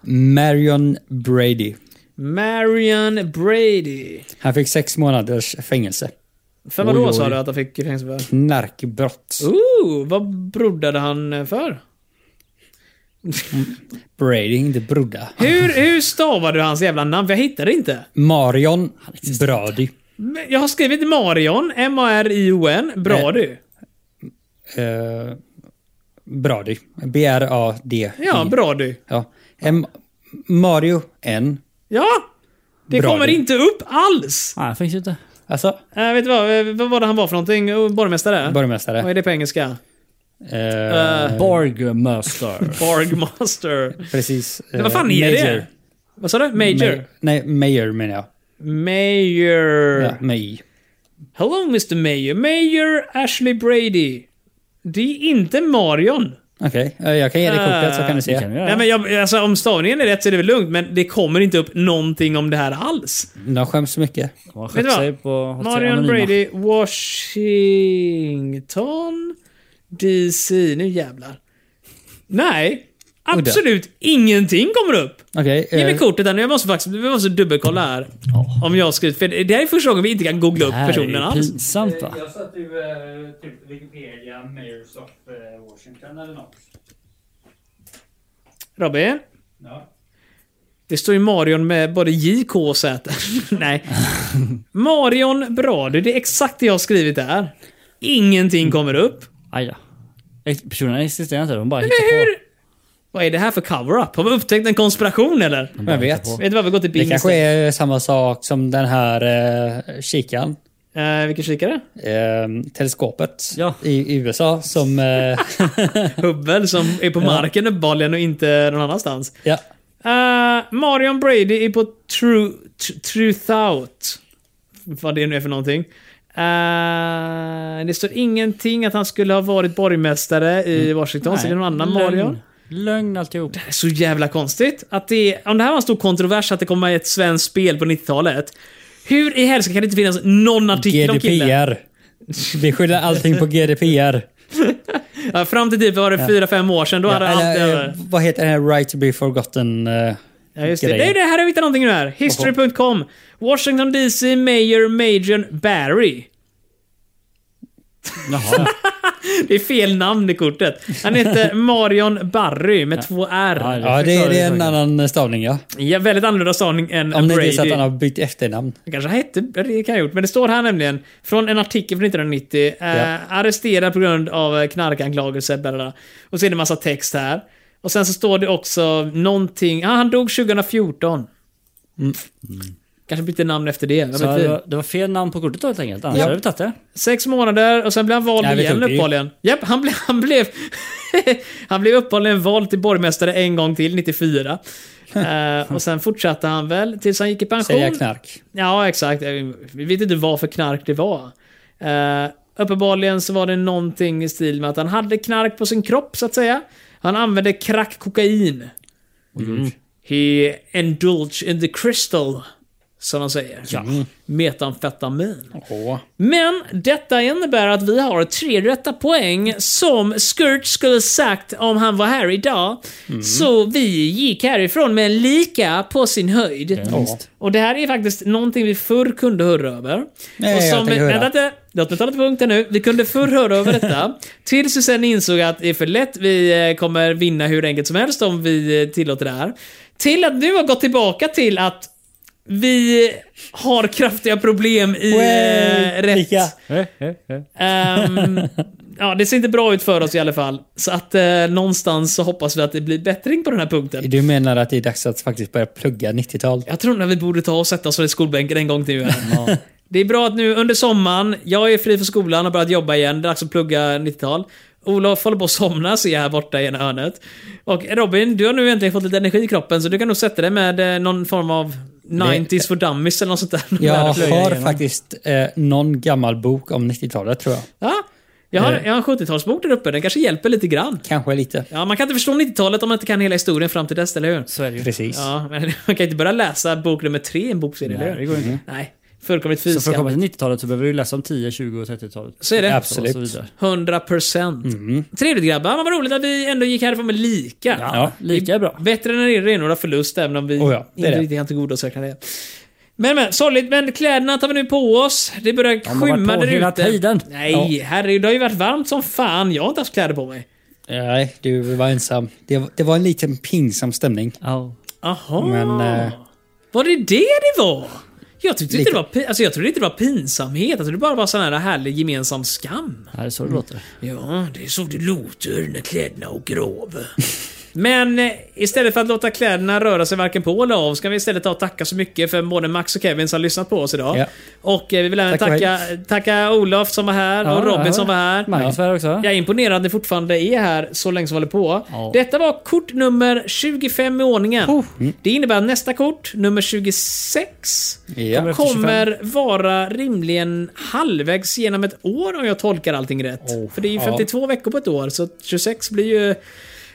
Speaker 2: Marion Brady.
Speaker 1: Marion Brady.
Speaker 2: Han fick sex månaders fängelse.
Speaker 1: För vadå
Speaker 2: Oj, oj.
Speaker 1: sa du att han fick fängelse för?
Speaker 2: Knarkbrott.
Speaker 1: Ooh, vad broddade han för?
Speaker 2: Brady, inte Brodda.
Speaker 1: Hur, hur stavar du hans jävla namn? För Jag hittar det inte.
Speaker 2: Marion Brady.
Speaker 1: Men Jag har skrivit Marion, M-A-R-I-O-N, bra
Speaker 2: Nej.
Speaker 1: du.
Speaker 2: Eh, Brady. B-R-A-D.
Speaker 1: Ja, bra du.
Speaker 2: Ja. M- Mario N.
Speaker 1: Ja! Det
Speaker 2: Bra
Speaker 1: kommer
Speaker 2: du.
Speaker 1: inte upp alls!
Speaker 5: Nej, finns ju inte.
Speaker 2: Alltså,
Speaker 1: Äh, vet du vad, Eh, vad var det han var för någonting? Oh, Borgmästare?
Speaker 2: borgmästare.
Speaker 1: Vad är det på engelska?
Speaker 2: Eh,
Speaker 1: Eh,
Speaker 5: Borgmaster.
Speaker 1: Borgmaster.
Speaker 2: precis.
Speaker 1: Men vad fan
Speaker 2: eh,
Speaker 1: är
Speaker 2: major.
Speaker 1: det? Vad sa du? Major?
Speaker 2: Ma- nej, mayor menar jag.
Speaker 1: Mayor.
Speaker 2: Ja, may.
Speaker 1: Hello Mr Mayor. Mayor Ashley Brady. Det är inte Marion.
Speaker 2: Okej, eh, jag kan ge dig kortet så kan du
Speaker 5: Det kan
Speaker 2: se.
Speaker 5: vi göra.
Speaker 1: Nej, men jag, alltså, om stavningen är rätt så är det väl lugnt, men det kommer inte upp någonting om det här alls.
Speaker 2: De skäms så mycket.
Speaker 5: De har
Speaker 1: Vet du
Speaker 5: skött
Speaker 1: vad?
Speaker 5: sig på att säga
Speaker 1: Marion
Speaker 5: anonyma.
Speaker 1: Brady, Washington, DC. Nu jävlar. Nej, absolut ingenting kommer upp.
Speaker 2: Okej.
Speaker 1: Ge mig
Speaker 2: eh,
Speaker 1: kortet här nu. Jag måste faktiskt vi måste dubbelkolla här. Om jag har skrivit för Det här är första gången vi inte kan googla
Speaker 5: Det
Speaker 1: upp
Speaker 5: här är
Speaker 1: personen
Speaker 5: ju
Speaker 1: alls.
Speaker 5: pinsamt
Speaker 1: Eh.
Speaker 5: va?
Speaker 3: Jag satt ju typ Wikipedia, Mayors of eh, Washington eller något.
Speaker 1: Robin?
Speaker 3: Ja.
Speaker 1: Det står ju Marion med både J, K och Z. Nej. Marion Brady, det är exakt det jag har skrivit där. Ingenting kommer upp.
Speaker 5: Aj då. Ex- Personerna existerar inte, de bara
Speaker 1: Men
Speaker 5: hittar på.
Speaker 1: hur? Vad är det här för cover-up? Har vi upptäckt en konspiration eller?
Speaker 2: Vem vet?
Speaker 1: Vet du vad, vi går till
Speaker 2: Det
Speaker 1: Bing
Speaker 2: kanske
Speaker 1: istället.
Speaker 2: är samma sak som den här eh, kikaren.
Speaker 1: Eh, vilken kikare?
Speaker 2: Eh, teleskopet
Speaker 5: Ja.
Speaker 2: i i USA som... Eh,
Speaker 1: Hubble som är på marken uppenbarligen och inte någon annanstans.
Speaker 2: ja.
Speaker 1: Eh, Marion Brady är på True, tr- Truthout. Vad det nu är för någonting. Eh, det står ingenting att han skulle ha varit borgmästare i
Speaker 2: Mm.
Speaker 1: Washington. Så det är någon annan Marion.
Speaker 5: Lögn. Lögn alltihop.
Speaker 1: Det är så jävla konstigt. Att det, om det här var en stor kontrovers att det kommer ett svenskt spel på 90-talet. Hur i helsike kan det inte finnas någon artikel om killen?
Speaker 2: GDPR. Vi skyller allting på GDPR.
Speaker 1: Ja, fram till typ var det 4-5 år sedan, då hade
Speaker 2: Ja,
Speaker 1: allt
Speaker 2: eller, eh,
Speaker 1: över.
Speaker 2: vad heter den här Right to be forgotten? eh,
Speaker 1: Ja, just det.
Speaker 2: grejen?
Speaker 1: Nej, det här har vi hittat någonting nu här. History.com. Washington DC Mayor Major Barry.
Speaker 5: Jaha.
Speaker 1: Det är fel namn i kortet. Han heter Marion Barry med två R.
Speaker 5: Ja,
Speaker 2: Ja, det,
Speaker 5: förklarar
Speaker 2: det är
Speaker 5: det
Speaker 2: en
Speaker 5: säkert.
Speaker 2: annan stavning ja.
Speaker 1: Ja, väldigt annorlunda stavning än
Speaker 2: Om det inte är så att
Speaker 1: Brady.
Speaker 2: han har bytt efternamn.
Speaker 1: Han kanske hette... Det kan jag ha gjort. Men det står här nämligen, från en artikel från 1990. Eh,
Speaker 2: Ja.
Speaker 1: Arresterad på grund av eh, knarkanklagelser. bla, bla, bla. Och så är det en massa text här. Och sen så står det också någonting... Ah, han dog 2014.
Speaker 2: Mm.
Speaker 1: Kanske bytte namn efter det. Vad
Speaker 5: Så
Speaker 1: vet vi?
Speaker 5: det, var, det var fel namn på kortet då helt enkelt, annars
Speaker 2: Ja.
Speaker 5: hade vi tagit det.
Speaker 1: Sex månader och sen blev han vald
Speaker 2: Ja, vi
Speaker 1: igen
Speaker 2: tog det ju.
Speaker 1: uppehållligen. Japp, han blev... Han blev, han blev uppehållligen vald till borgmästare en gång till, 94. Eh, och sen fortsatte han väl tills han gick i pension.
Speaker 2: Säga knark.
Speaker 1: Ja, exakt. Vi vet inte vad för knark det var. Eh, uppenbarligen så var det någonting i stil med att han hade knark på sin kropp, så att säga. Han använde crack kokain. He indulged in the crystal, som de säger. Metamfetamin.
Speaker 2: Åh.
Speaker 1: Men detta innebär att vi har tre rätta poäng som Skurch skulle sagt om han var här idag.
Speaker 2: Mm.
Speaker 1: Så vi gick härifrån med en lika på sin höjd. Och det här är faktiskt någonting vi förr kunde höra över.
Speaker 2: Nej,
Speaker 1: och
Speaker 2: jag tänker höra.
Speaker 1: vänta lite, låt mig ta lite punkter nu. Vi kunde förr höra över detta, tills vi sen insåg att det är för lätt, vi eh, kommer vinna hur enkelt som helst om vi eh, tillåter det här. Till att nu har gått tillbaka till att vi har kraftiga problem i eh,
Speaker 2: Lika.
Speaker 1: rätt. Ehm, ja, det ser inte bra ut för oss i alla fall. Så att eh, någonstans så hoppas vi att det blir bättring på den här punkten.
Speaker 2: Du menar att det är dags att faktiskt börja plugga 90-tal?
Speaker 1: Jag tror att vi borde ta och sätta oss i skolbänken en gång till. Här. Det är bra att nu under sommaren, jag är fri från skolan och börjat jobba igen. Det är dags att plugga 90-tal. Olof håller på att somna ser jag här borta i ena hörnet. Och Robin, du har nu äntligen fått lite energi i kroppen så du kan nog sätta dig med eh, någon form av 90s for dummies eller något sånt där.
Speaker 2: Jag
Speaker 1: Lära plöja
Speaker 2: har
Speaker 1: igenom.
Speaker 2: faktiskt eh, någon gammal bok om 90-talet tror jag.
Speaker 1: Ja, jag
Speaker 5: Eh.
Speaker 1: har, jag har en 70-talsbok där uppe. Den kanske hjälper lite grann.
Speaker 2: Kanske lite.
Speaker 1: Ja, man kan inte förstå 90-talet om man inte kan hela historien fram till dess, eller hur?
Speaker 5: Så är det ju.
Speaker 2: Precis.
Speaker 1: Ja, men man kan inte börja läsa bok nummer tre i en bokserie, eller
Speaker 5: Nej, det
Speaker 1: hur?
Speaker 5: går inte.
Speaker 1: Nej, fullkomligt
Speaker 5: Så för att komma
Speaker 1: fysiska.
Speaker 5: till 90-talet så behöver du läsa om 10, 20 och 30-talet.
Speaker 1: Så är det.
Speaker 5: Och så
Speaker 2: Absolut.
Speaker 5: vidare.
Speaker 1: 100%. Trevligt grabbar, vad roligt att vi ändå gick härifrån med lika.
Speaker 5: Mm. Ja, lika är bra.
Speaker 1: Bättre än en renodlad förlust, även om vi
Speaker 2: Oh ja, det är
Speaker 1: inte
Speaker 2: det.
Speaker 1: riktigt kan tillgodoräkna det. Men men, sorgligt, men kläderna tar vi nu på oss. Det börjar
Speaker 5: har varit
Speaker 1: skymma
Speaker 5: på
Speaker 1: där
Speaker 5: hela
Speaker 1: ute.
Speaker 5: tiden.
Speaker 1: Nej, herregud, det har ju varit varmt som fan. Jag har inte haft kläder på mig.
Speaker 2: Nej, du var ensam. Det, var- det var en liten pinsam stämning.
Speaker 5: Ja.
Speaker 1: Aha.
Speaker 2: Men eh,
Speaker 1: Var det det det var? Jag tyckte inte
Speaker 2: Lite.
Speaker 1: det var, pi- alltså jag trodde inte det var pinsamhet. Jag trodde det bara var sån här härlig gemensam skam.
Speaker 5: Det är så det låter.
Speaker 1: Ja, det är så det låter när kläderna åker av. Men eh, istället för att låta kläderna röra sig varken på eller av ska vi istället ta och tacka så mycket för både Max och Kevin som har lyssnat på oss idag.
Speaker 2: Ja.
Speaker 1: Och eh, vi vill även
Speaker 2: Tack och
Speaker 1: tacka, tacka Olof som var här och
Speaker 5: Ja,
Speaker 1: Robin
Speaker 5: ja.
Speaker 1: som var här.
Speaker 5: Magnus var här också.
Speaker 1: Jag är imponerad att ni fortfarande är här så länge som vi håller på.
Speaker 5: Ja.
Speaker 1: Detta var kort nummer 25 i ordningen. Det innebär att nästa kort, nummer 26,
Speaker 2: ja.
Speaker 5: efter 25.
Speaker 1: kommer vara rimligen halvvägs genom ett år om jag tolkar allting rätt.
Speaker 5: Oh,
Speaker 1: För det är ju 52 veckor på ett år, så 26 blir ju...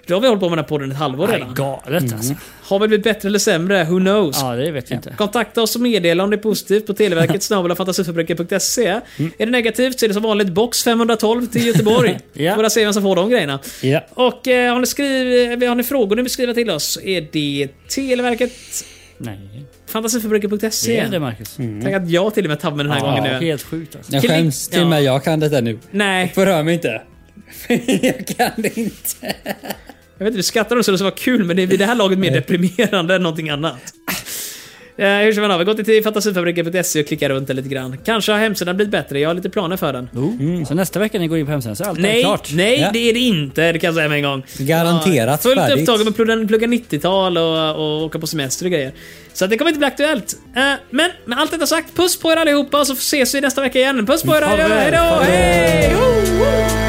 Speaker 1: Då har vi hållit på med den här podden ett halvår
Speaker 5: Nej,
Speaker 1: redan.
Speaker 5: galet alltså.
Speaker 2: Mm.
Speaker 1: Har vi blivit bättre eller sämre? Who knows?
Speaker 5: Ja, det vet vi inte.
Speaker 1: Kontakta oss och meddela om det är positivt på televerket snabelafantasiförbrukare.se.
Speaker 5: Mm.
Speaker 1: Är det negativt så är det som vanligt box 512 till Göteborg.
Speaker 5: Ja.
Speaker 1: Får Bara se vem som får de grejerna.
Speaker 2: Ja.
Speaker 1: Och eh, har, ni skriv, har ni frågor ni vill skriva till oss så är det televerket
Speaker 5: Nej,
Speaker 1: fantasiförbrukare.se.
Speaker 5: det är det Marcus.
Speaker 1: Tänk att jag till och med tabben den här gången
Speaker 5: Mm. Ja,
Speaker 1: nu.
Speaker 5: helt sjukt alltså.
Speaker 2: Mm. Jag
Speaker 1: Killing-
Speaker 2: skäms till och med jag kan detta nu.
Speaker 1: Nej,
Speaker 2: Förhör mig inte. jag kan det inte.
Speaker 1: jag vet inte, du skrattar och så det ska vara kul men det är vid det här laget mer deprimerande än någonting annat. Eh, hur ska man av? Gå till fantasifabriken.se och klicka runt där lite grann. Kanske har hemsidan blivit bättre, jag har lite planer för den.
Speaker 5: Mm. Så nästa vecka när ni går in på hemsidan så är allt
Speaker 1: Nej,
Speaker 5: klart.
Speaker 1: nej
Speaker 2: Ja.
Speaker 1: det är det inte. Det kan jag säga med en gång.
Speaker 2: Garanterat
Speaker 1: Fullt
Speaker 2: färdigt.
Speaker 1: upptagen med att plugga, plugga 90-tal och, och åka på semester och grejer. Så att det kommer inte bli aktuellt. Eh, men med allt detta sagt, puss på er allihopa och så ses vi nästa vecka igen. Puss på er,
Speaker 5: Farväl,
Speaker 1: hejdå! hejdå.
Speaker 5: farväl.
Speaker 1: Hej! Ho, ho.